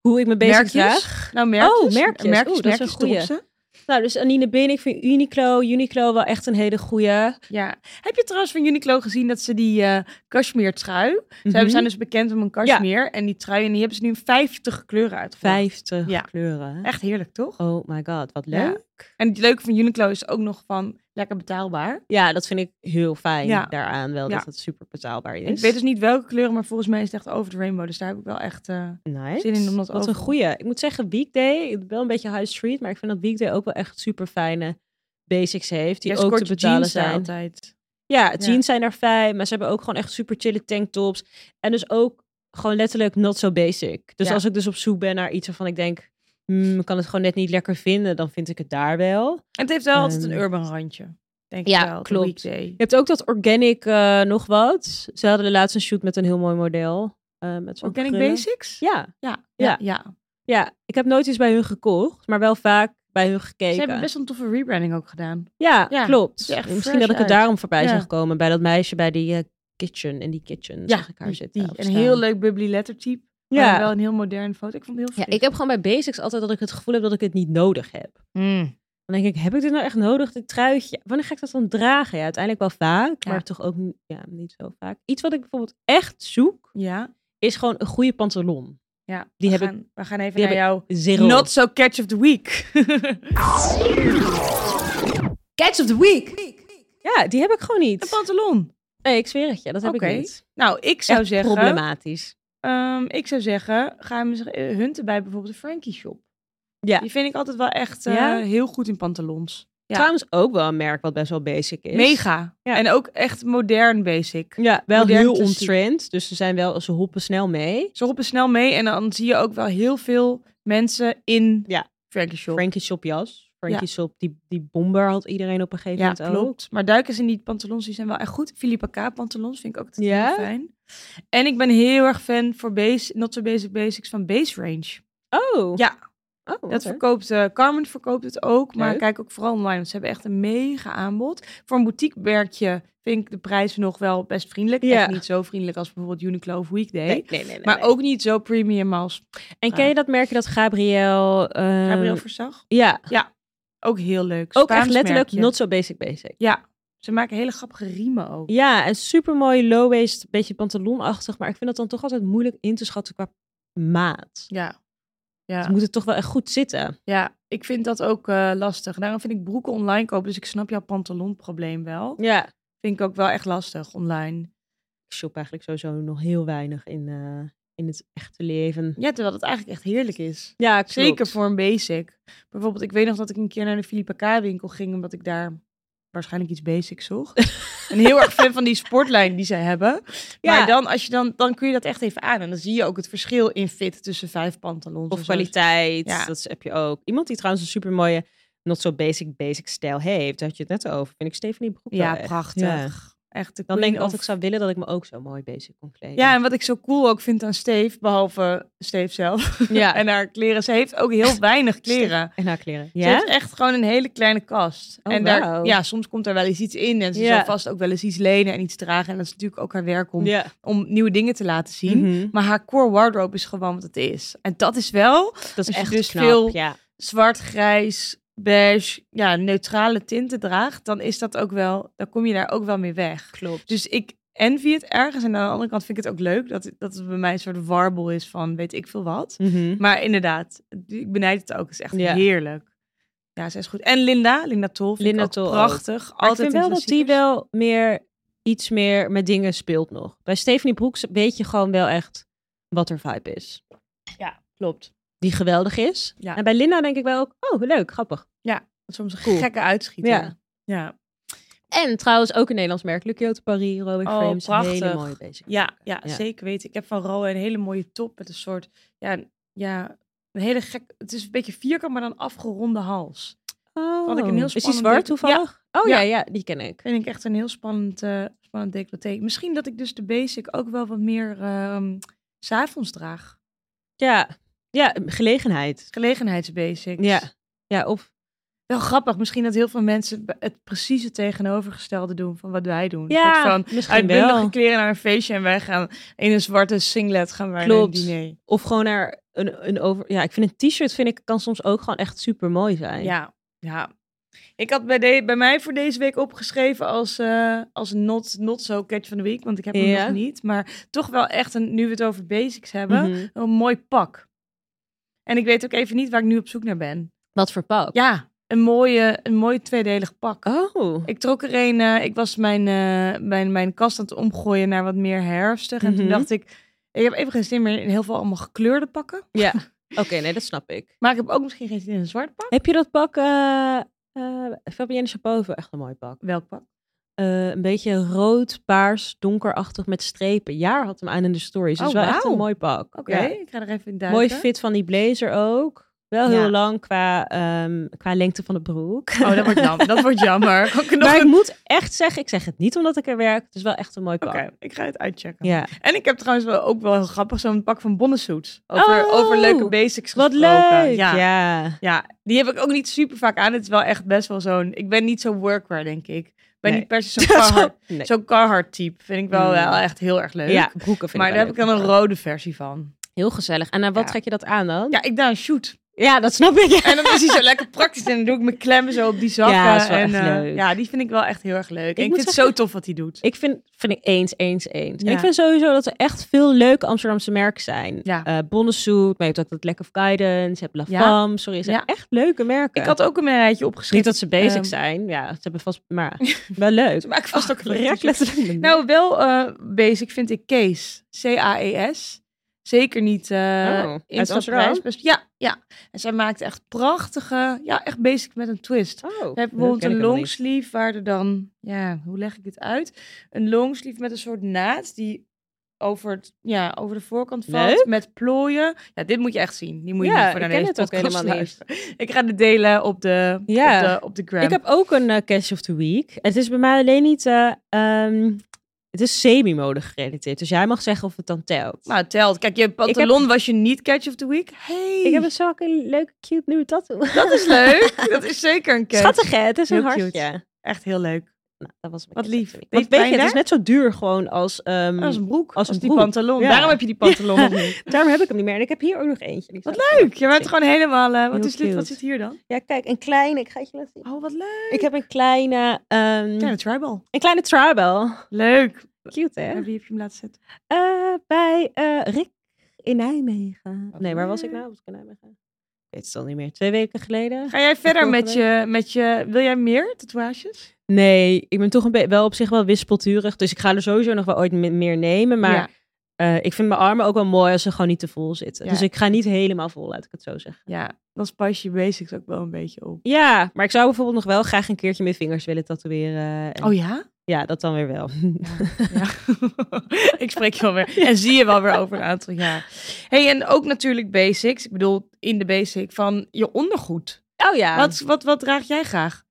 [SPEAKER 2] hoe ik me bezig
[SPEAKER 1] merkjes?
[SPEAKER 2] draag.
[SPEAKER 1] Nou, merkjes.
[SPEAKER 2] Oh, merkjes.
[SPEAKER 1] Merkjes,
[SPEAKER 2] Oeh, dat is
[SPEAKER 1] merkjes
[SPEAKER 2] een goeie.
[SPEAKER 1] erop,
[SPEAKER 2] Nou, dus Anine Bin, ik vind Uniqlo, Uniqlo wel echt een hele goeie.
[SPEAKER 1] ze. Ja. Heb je trouwens van Uniqlo gezien dat ze die eh cashmere trui... Ze
[SPEAKER 2] Mhm.
[SPEAKER 1] hebben- zijn dus bekend om een cashmere. En die trui, en die hebben ze nu in 50 kleuren uitgebracht.
[SPEAKER 2] 50
[SPEAKER 1] Ja.
[SPEAKER 2] kleuren.
[SPEAKER 1] Echt heerlijk, toch?
[SPEAKER 2] Oh my god, wat
[SPEAKER 1] Ja.
[SPEAKER 2] leuk. Ja.
[SPEAKER 1] En het leuke van Uniqlo is ook nog van lekker betaalbaar.
[SPEAKER 2] dat vind ik heel fijn
[SPEAKER 1] Ja.
[SPEAKER 2] daaraan wel,
[SPEAKER 1] Ja.
[SPEAKER 2] dat het super betaalbaar is.
[SPEAKER 1] En Ik weet dus niet welke kleuren, maar volgens mij is het echt over de rainbow. Dus daar heb ik wel echt... eh,
[SPEAKER 2] Nice.
[SPEAKER 1] Zin in om dat
[SPEAKER 2] Wat een
[SPEAKER 1] overal-
[SPEAKER 2] goeie. Ik moet zeggen, Weekday, wel een beetje high street, maar ik vind dat Weekday ook wel echt super fijne basics heeft, die
[SPEAKER 1] jij
[SPEAKER 2] ook
[SPEAKER 1] scoort
[SPEAKER 2] te
[SPEAKER 1] je
[SPEAKER 2] betalen
[SPEAKER 1] jeans daar
[SPEAKER 2] zijn.
[SPEAKER 1] altijd.
[SPEAKER 2] Ja,
[SPEAKER 1] Ja.
[SPEAKER 2] jeans zijn er fijn, maar ze hebben ook gewoon echt super chille tanktops. En dus ook gewoon letterlijk not so basic. Dus
[SPEAKER 1] Ja.
[SPEAKER 2] als ik dus op zoek ben naar iets waarvan ik denk, hmm, ik kan het gewoon net niet lekker vinden, dan vind ik het daar wel.
[SPEAKER 1] En het heeft wel altijd een
[SPEAKER 2] Ehm,
[SPEAKER 1] urban randje. Denk
[SPEAKER 2] ja,
[SPEAKER 1] ik wel. de
[SPEAKER 2] klopt.
[SPEAKER 1] weekday.
[SPEAKER 2] Je hebt ook dat organic eh, nog wat. Ze hadden de laatste shoot met een heel mooi model. eh, met zo'n
[SPEAKER 1] Organic
[SPEAKER 2] krullen.
[SPEAKER 1] Basics?
[SPEAKER 2] Ja,
[SPEAKER 1] Ja,
[SPEAKER 2] Ja.
[SPEAKER 1] ja, ja.
[SPEAKER 2] ja, ik heb nooit iets bij hun gekocht, maar wel vaak bij hun gekeken.
[SPEAKER 1] Ze hebben best wel een toffe rebranding ook gedaan.
[SPEAKER 2] Ja,
[SPEAKER 1] Ja,
[SPEAKER 2] klopt.
[SPEAKER 1] ziet er echt
[SPEAKER 2] Misschien
[SPEAKER 1] fresh
[SPEAKER 2] dat ik het
[SPEAKER 1] uit.
[SPEAKER 2] daarom voorbij
[SPEAKER 1] Ja.
[SPEAKER 2] zou gekomen bij dat meisje bij die eh, kitchen in die kitchen zag ik haar
[SPEAKER 1] die-
[SPEAKER 2] zitten.
[SPEAKER 1] die.
[SPEAKER 2] of
[SPEAKER 1] Een
[SPEAKER 2] staan.
[SPEAKER 1] heel leuk bubbly lettertype. Ja.
[SPEAKER 2] Ja.
[SPEAKER 1] wel een heel modern foto. Ik vond het heel
[SPEAKER 2] ja,
[SPEAKER 1] fris.
[SPEAKER 2] ik heb gewoon bij basics altijd dat ik het gevoel heb dat ik het niet nodig heb. Dan denk ik, heb ik dit nou echt nodig, dit truitje? Wanneer ga ik dat dan dragen? Ja, uiteindelijk wel vaak,
[SPEAKER 1] Ja.
[SPEAKER 2] maar toch ook n- ja, niet zo vaak. Iets wat ik bijvoorbeeld echt zoek,
[SPEAKER 1] Ja.
[SPEAKER 2] is gewoon een goede pantalon.
[SPEAKER 1] ja.
[SPEAKER 2] Die
[SPEAKER 1] we,
[SPEAKER 2] heb ik-
[SPEAKER 1] gaan, we gaan even
[SPEAKER 2] die
[SPEAKER 1] naar jouw
[SPEAKER 2] Zero.
[SPEAKER 1] Not So Catch of the Week. catch of the Week.
[SPEAKER 2] Ja, die heb ik gewoon
[SPEAKER 1] Een
[SPEAKER 2] niet.
[SPEAKER 1] pantalon.
[SPEAKER 2] Nee, ik zweer het je, dat heb
[SPEAKER 1] Oké.
[SPEAKER 2] ik niet.
[SPEAKER 1] Nou, ik zou
[SPEAKER 2] Echt
[SPEAKER 1] zeggen...
[SPEAKER 2] problematisch.
[SPEAKER 1] ehm, ik zou zeggen, ga hem eens eh, hunten bij bijvoorbeeld de Frankie Shop.
[SPEAKER 2] Ja.
[SPEAKER 1] Die vind ik altijd wel echt eh,
[SPEAKER 2] Ja?
[SPEAKER 1] heel goed in pantalons. Ja.
[SPEAKER 2] Trouwens ook wel een merk wat best wel basic is.
[SPEAKER 1] Mega.
[SPEAKER 2] Ja.
[SPEAKER 1] En ook echt modern basic.
[SPEAKER 2] Ja, wel
[SPEAKER 1] Modern
[SPEAKER 2] heel
[SPEAKER 1] klassiek.
[SPEAKER 2] ontrend. Dus ze zijn wel, ze hoppen snel mee.
[SPEAKER 1] Ze roepen snel mee en dan zie je ook wel heel veel mensen in
[SPEAKER 2] Ja.
[SPEAKER 1] Frankie Shop.
[SPEAKER 2] Frankie Shop jas. Frankie Shop, die, die bomber had iedereen op een gegeven
[SPEAKER 1] ja,
[SPEAKER 2] moment ook.
[SPEAKER 1] klopt. Maar duik eens in die pantalons, die zijn wel echt goed. Philippa K. pantalons vind ik ook altijd
[SPEAKER 2] Ja?
[SPEAKER 1] heel fijn. En ik ben heel erg fan voor base, Not So Basic Basics van Base Range.
[SPEAKER 2] Oh.
[SPEAKER 1] Ja.
[SPEAKER 2] Oh,
[SPEAKER 1] Dat
[SPEAKER 2] oké.
[SPEAKER 1] verkoopt, eh, Carmen verkoopt het ook, maar
[SPEAKER 2] Leuk.
[SPEAKER 1] kijk ook vooral online, want ze hebben echt een mega aanbod. Voor een boutiquemerkje vind ik de prijs nog wel best vriendelijk.
[SPEAKER 2] Ja.
[SPEAKER 1] Echt niet zo vriendelijk als bijvoorbeeld Uniqlo of Weekday.
[SPEAKER 2] Nee, nee, nee, nee,
[SPEAKER 1] maar
[SPEAKER 2] nee.
[SPEAKER 1] ook niet zo premium als
[SPEAKER 2] En ken je dat merkje dat Gabriel... eh,
[SPEAKER 1] Gabriel Verzag.
[SPEAKER 2] Ja,
[SPEAKER 1] Ook heel leuk.
[SPEAKER 2] ook echt
[SPEAKER 1] Spaans
[SPEAKER 2] letterlijk
[SPEAKER 1] merkje.
[SPEAKER 2] not so basic basic.
[SPEAKER 1] Ja, ze maken hele grappige riemen ook.
[SPEAKER 2] Ja, en super mooi low-waist, beetje pantalonachtig. Maar ik vind dat dan toch altijd moeilijk in te schatten qua maat.
[SPEAKER 1] Ja.
[SPEAKER 2] Het
[SPEAKER 1] Ja,
[SPEAKER 2] moet het toch wel echt goed zitten.
[SPEAKER 1] ja ik vind dat ook eh, lastig. Daarom vind ik broeken online kopen, dus ik snap jouw pantalonprobleem wel.
[SPEAKER 2] Ja.
[SPEAKER 1] Vind ik ook wel echt lastig online.
[SPEAKER 2] Ik shop eigenlijk sowieso nog heel weinig in, eh, in het echte leven.
[SPEAKER 1] Ja, terwijl het eigenlijk echt heerlijk is.
[SPEAKER 2] Ja, klopt.
[SPEAKER 1] Zeker voor een basic. Bijvoorbeeld, ik weet nog dat ik een keer naar de Philippa K. winkel ging, omdat ik daar waarschijnlijk iets basics zocht. en heel erg fan van die sportlijn die zij hebben.
[SPEAKER 2] Ja.
[SPEAKER 1] Maar dan, als je dan, dan kun je dat echt even aan. En dan zie je ook het verschil in fit tussen vijf pantalons.
[SPEAKER 2] Of
[SPEAKER 1] en zo.
[SPEAKER 2] kwaliteit,
[SPEAKER 1] Ja.
[SPEAKER 2] dat heb je ook. Iemand die trouwens een super mooie, not so basic, basic stijl heeft. Daar had je het net over. Vind ik Stephanie Broek wel
[SPEAKER 1] Ja,
[SPEAKER 2] echt.
[SPEAKER 1] prachtig.
[SPEAKER 2] Ja.
[SPEAKER 1] Echt de
[SPEAKER 2] Dan
[SPEAKER 1] queen
[SPEAKER 2] denk ik, als
[SPEAKER 1] of-
[SPEAKER 2] ik zou willen dat ik me ook zo mooi basic kon kleden.
[SPEAKER 1] Ja, en wat ik zo cool ook vind aan Steve, behalve Steve zelf
[SPEAKER 2] ja.
[SPEAKER 1] en haar kleren. Ze heeft ook heel weinig kleren.
[SPEAKER 2] en haar kleren.
[SPEAKER 1] Ze heeft echt gewoon een hele kleine kast.
[SPEAKER 2] Oh,
[SPEAKER 1] en daar,
[SPEAKER 2] wauw.
[SPEAKER 1] ja, soms komt er wel eens iets in en ze
[SPEAKER 2] Ja.
[SPEAKER 1] zal vast ook wel eens iets lenen en iets dragen. En dat is natuurlijk ook haar werk om,
[SPEAKER 2] Ja. Mhm.
[SPEAKER 1] om nieuwe dingen te laten zien. Maar haar core wardrobe is gewoon wat het is. En dat is wel
[SPEAKER 2] Dat
[SPEAKER 1] je
[SPEAKER 2] is echt
[SPEAKER 1] dus
[SPEAKER 2] knap,
[SPEAKER 1] veel-
[SPEAKER 2] ja.
[SPEAKER 1] zwart, grijs, beige, ja, neutrale tinten draagt. Dan is dat ook wel, dan kom je daar ook wel mee weg.
[SPEAKER 2] Klopt.
[SPEAKER 1] Dus ik envy het ergens. En aan de andere kant vind ik het ook leuk dat, dat het bij mij een soort warbel is van weet ik veel wat.
[SPEAKER 2] Mhm.
[SPEAKER 1] Maar inderdaad, ik benijd het ook. Het is echt
[SPEAKER 2] Ja.
[SPEAKER 1] heerlijk. Ja, zij is goed. En Linda, Linda Tol. Vind
[SPEAKER 2] Linda
[SPEAKER 1] ik ook
[SPEAKER 2] Tol ook.
[SPEAKER 1] Prachtig.
[SPEAKER 2] Maar ik
[SPEAKER 1] Altijd
[SPEAKER 2] vind
[SPEAKER 1] in
[SPEAKER 2] wel dat die
[SPEAKER 1] klassiekers.
[SPEAKER 2] wel meer iets meer met dingen speelt nog. Bij Stephanie Broeks weet je gewoon wel echt wat haar vibe is.
[SPEAKER 1] Ja, klopt.
[SPEAKER 2] Die geweldig is.
[SPEAKER 1] Ja.
[SPEAKER 2] En bij Linda denk ik wel ook, oh leuk, grappig.
[SPEAKER 1] Soms een
[SPEAKER 2] Cool.
[SPEAKER 1] gekke uitschieter.
[SPEAKER 2] Ja.
[SPEAKER 1] Ja.
[SPEAKER 2] En trouwens ook een Nederlands merk. Le Kyoto Paris, Robic
[SPEAKER 1] Oh,
[SPEAKER 2] Frames. Hele
[SPEAKER 1] prachtig.
[SPEAKER 2] mooie bezig.
[SPEAKER 1] Ja, ja,
[SPEAKER 2] Ja.
[SPEAKER 1] zeker weten. Ik heb van Roe een hele mooie top met een soort, ja, een- ja, een hele gek, het is een beetje vierkant, maar dan afgeronde hals.
[SPEAKER 2] Oh.
[SPEAKER 1] Vond ik een heel
[SPEAKER 2] is die
[SPEAKER 1] spannend
[SPEAKER 2] zwart
[SPEAKER 1] detail.
[SPEAKER 2] toevallig? Oh ja.
[SPEAKER 1] Ja.
[SPEAKER 2] ja, die ken ik.
[SPEAKER 1] Vind ik echt een heel spannend, eh, spannend decolleté. Misschien dat ik dus de basic ook wel wat meer ehm, s s'avonds draag.
[SPEAKER 2] Ja, ja gelegenheid.
[SPEAKER 1] Gelegenheidsbasics.
[SPEAKER 2] Ja. ja, of...
[SPEAKER 1] Wel grappig, misschien dat heel veel mensen b- het precies het tegenovergestelde doen van wat wij doen. Een
[SPEAKER 2] Ja,
[SPEAKER 1] soort van
[SPEAKER 2] misschien wel.
[SPEAKER 1] uitbundige kleren naar een feestje en wij gaan in een zwarte singlet gaan wij
[SPEAKER 2] Klopt.
[SPEAKER 1] naar een diner.
[SPEAKER 2] Of gewoon naar een, een over... Ja, ik vind een t-shirt vind ik, kan soms ook gewoon echt super mooi zijn.
[SPEAKER 1] Ja, ja. Ik had bij, de, bij mij voor deze week opgeschreven als, eh, als not, not so catch van de week, want ik heb hem
[SPEAKER 2] Ja.
[SPEAKER 1] nog niet. Maar toch wel echt, een, nu we het over basics hebben,
[SPEAKER 2] Mhm.
[SPEAKER 1] een mooi pak. En ik weet ook even niet waar ik nu op zoek naar ben.
[SPEAKER 2] Wat voor pak?
[SPEAKER 1] Ja, een, mooie, een mooi tweedelig pak.
[SPEAKER 2] Oh.
[SPEAKER 1] Ik trok er een. eh, ik was mijn, eh, mijn, mijn kast aan het omgooien naar wat meer herfstig. En toen
[SPEAKER 2] Mhm.
[SPEAKER 1] dacht ik, ik heb even geen zin meer in heel veel allemaal gekleurde pakken.
[SPEAKER 2] Ja. Oké, nee, dat snap ik.
[SPEAKER 1] Maar ik heb ook misschien geen zin in een zwart pak.
[SPEAKER 2] Heb je dat pak... eh eh Fabienne Chapeau heeft wel echt een mooi pak.
[SPEAKER 1] Welk pak?
[SPEAKER 2] Eh, een beetje rood, paars, donkerachtig met strepen. Jaar had hem aan in de stories. Dus
[SPEAKER 1] Oh,
[SPEAKER 2] wel echt een
[SPEAKER 1] wauw.
[SPEAKER 2] mooi pak.
[SPEAKER 1] Oké,
[SPEAKER 2] Ja.
[SPEAKER 1] ik ga er even in duiken.
[SPEAKER 2] Mooi fit van die blazer ook. Wel heel
[SPEAKER 1] Ja.
[SPEAKER 2] lang qua, ehm, qua lengte van de broek.
[SPEAKER 1] Oh, dat wordt, jam, dat wordt jammer. Kan ik er nog
[SPEAKER 2] maar ik
[SPEAKER 1] een-
[SPEAKER 2] moet echt zeggen, ik zeg het niet omdat ik er werk. Het is wel echt een mooi pak.
[SPEAKER 1] Oké, ik ga het uitchecken.
[SPEAKER 2] Ja.
[SPEAKER 1] En ik heb trouwens wel, ook wel heel grappig zo'n pak van Bonnesuits. Over,
[SPEAKER 2] Oh,
[SPEAKER 1] over leuke basics
[SPEAKER 2] Wat
[SPEAKER 1] gesproken.
[SPEAKER 2] leuk.
[SPEAKER 1] eh, Ja.
[SPEAKER 2] Ja.
[SPEAKER 1] ja. die heb ik ook niet super vaak aan. Het is wel echt best wel zo'n... Ik ben niet zo workwear, denk ik. Ik ben
[SPEAKER 2] Nee.
[SPEAKER 1] niet per se zo'n Carhartt,
[SPEAKER 2] Nee.
[SPEAKER 1] zo'n Carhartt type. Vind ik wel,
[SPEAKER 2] Mm.
[SPEAKER 1] wel echt heel erg leuk.
[SPEAKER 2] ja, broeken vind
[SPEAKER 1] maar
[SPEAKER 2] ik
[SPEAKER 1] daar
[SPEAKER 2] wel
[SPEAKER 1] heb ik
[SPEAKER 2] leuk.
[SPEAKER 1] dan een rode versie van.
[SPEAKER 2] Heel gezellig. En naar wat
[SPEAKER 1] Ja.
[SPEAKER 2] trek je dat aan dan?
[SPEAKER 1] Ja, ik doe een shoot.
[SPEAKER 2] Ja, dat snap ik.
[SPEAKER 1] En dan is hij zo lekker praktisch. En dan doe ik mijn klemmen zo op die zakken.
[SPEAKER 2] Ja, is wel
[SPEAKER 1] en, eh,
[SPEAKER 2] echt leuk.
[SPEAKER 1] ja, die vind ik wel echt heel erg leuk. en ik
[SPEAKER 2] moet
[SPEAKER 1] vind het zo
[SPEAKER 2] zeggen-
[SPEAKER 1] tof wat hij doet.
[SPEAKER 2] Ik vind, vind ik eens, eens, eens.
[SPEAKER 1] Ja.
[SPEAKER 2] En ik vind sowieso dat er echt veel leuke Amsterdamse merken zijn.
[SPEAKER 1] Ja.
[SPEAKER 2] Eh, Bonnesuit, maar je hebt ook dat Lack of Guidance, je hebt La
[SPEAKER 1] Ja.
[SPEAKER 2] Femme. Sorry, het zijn
[SPEAKER 1] Ja.
[SPEAKER 2] echt leuke merken.
[SPEAKER 1] Ik had ook een rijtje opgeschreven.
[SPEAKER 2] Niet dat ze basic
[SPEAKER 1] Ehm,
[SPEAKER 2] zijn. Ja, ze hebben vast... Maar wel leuk.
[SPEAKER 1] Ze maken vast ook een
[SPEAKER 2] Rek
[SPEAKER 1] rijtje.
[SPEAKER 2] letterlijk.
[SPEAKER 1] Nou, wel eh, basic vind ik Kees. C-A-E-S. Zeker niet eh
[SPEAKER 2] Oh, uit
[SPEAKER 1] Insta
[SPEAKER 2] Amsterdam?
[SPEAKER 1] prijsbest- Ja, ja. En zij maakt echt prachtige, ja, echt basic met een twist.
[SPEAKER 2] Oh,
[SPEAKER 1] We hebben
[SPEAKER 2] dat
[SPEAKER 1] bijvoorbeeld
[SPEAKER 2] ken ik
[SPEAKER 1] een
[SPEAKER 2] helemaal niet.
[SPEAKER 1] longsleeve waar er dan, ja, hoe leg ik dit uit? Een longsleeve met een soort naad die over, het, ja, over de voorkant valt
[SPEAKER 2] Leuk.
[SPEAKER 1] met plooien. Ja, dit moet je echt zien. Die moet je
[SPEAKER 2] Ja,
[SPEAKER 1] niet voor
[SPEAKER 2] ik
[SPEAKER 1] naar
[SPEAKER 2] ken
[SPEAKER 1] deze
[SPEAKER 2] het ook
[SPEAKER 1] podcast
[SPEAKER 2] helemaal niet.
[SPEAKER 1] luisteren. Ik ga de delen op de,
[SPEAKER 2] Ja.
[SPEAKER 1] op de, op de gram.
[SPEAKER 2] Ik heb ook een eh, Cash of the Week. Het is bij mij alleen niet... eh, ehm, het is semi-mode gerelateerd. Dus jij mag zeggen of het dan telt.
[SPEAKER 1] Nou, het telt. Kijk, je pantalon was je niet catch of the week. Hey,
[SPEAKER 2] ik heb een zulke leuke, cute nieuwe tattoo.
[SPEAKER 1] dat is leuk. dat is zeker een catch.
[SPEAKER 2] Schattig, hè? Het is een
[SPEAKER 1] Heel cute.
[SPEAKER 2] hartje.
[SPEAKER 1] Echt heel leuk.
[SPEAKER 2] Nou, dat was mijn
[SPEAKER 1] Wat
[SPEAKER 2] eerste
[SPEAKER 1] lief.
[SPEAKER 2] week.
[SPEAKER 1] Deed
[SPEAKER 2] Want weet
[SPEAKER 1] pijn
[SPEAKER 2] je, het is
[SPEAKER 1] daar?
[SPEAKER 2] net zo duur gewoon als... ehm,
[SPEAKER 1] Als een broek.
[SPEAKER 2] als
[SPEAKER 1] Als,
[SPEAKER 2] een
[SPEAKER 1] die
[SPEAKER 2] broek.
[SPEAKER 1] pantalon.
[SPEAKER 2] Ja.
[SPEAKER 1] Daarom heb je die pantalon nog niet.
[SPEAKER 2] Daarom heb ik hem niet meer. En ik heb hier ook nog eentje. Die
[SPEAKER 1] Wat
[SPEAKER 2] staat-
[SPEAKER 1] Leuk. Je bent gewoon helemaal... eh, wat,
[SPEAKER 2] Heel
[SPEAKER 1] is dit? wat
[SPEAKER 2] cute.
[SPEAKER 1] zit hier dan?
[SPEAKER 2] Ja, kijk, een kleine. Ik ga het je laten zien.
[SPEAKER 1] Oh, wat leuk.
[SPEAKER 2] Ik heb een kleine... ehm,
[SPEAKER 1] Ja, de tribal.
[SPEAKER 2] Een kleine tribal.
[SPEAKER 1] Leuk.
[SPEAKER 2] Cute, hè?
[SPEAKER 1] En wie heb je hem laten zetten?
[SPEAKER 2] Eh, bij eh, Rick in Nijmegen.
[SPEAKER 1] Wat
[SPEAKER 2] nee, waar was ik
[SPEAKER 1] leuk.
[SPEAKER 2] nou? Was ik in Nijmegen? Ik weet het al niet meer. Twee weken geleden.
[SPEAKER 1] Ga jij verder
[SPEAKER 2] Volgende
[SPEAKER 1] met je, met je... Wil jij meer tatoeages?
[SPEAKER 2] Nee, ik ben toch een be- wel op zich wel wispelturig. Dus ik ga er sowieso nog wel ooit me- meer nemen. Maar
[SPEAKER 1] Ja.
[SPEAKER 2] eh, ik vind mijn armen ook wel mooi als ze gewoon niet te vol zitten.
[SPEAKER 1] Ja.
[SPEAKER 2] Dus ik ga niet helemaal vol, laat ik het zo zeggen.
[SPEAKER 1] Ja, dan spas je basics ook wel een beetje op.
[SPEAKER 2] Ja, maar ik zou bijvoorbeeld nog wel graag een keertje mijn vingers willen tatoeëren. En-
[SPEAKER 1] Oh ja?
[SPEAKER 2] Ja, dat dan weer wel.
[SPEAKER 1] Ja. ik spreek je wel weer. En zie je wel weer over een aantal jaar. hey, en ook natuurlijk basics. Ik bedoel, in de basic van je ondergoed.
[SPEAKER 2] Oh ja.
[SPEAKER 1] Wat, wat, wat draag jij graag?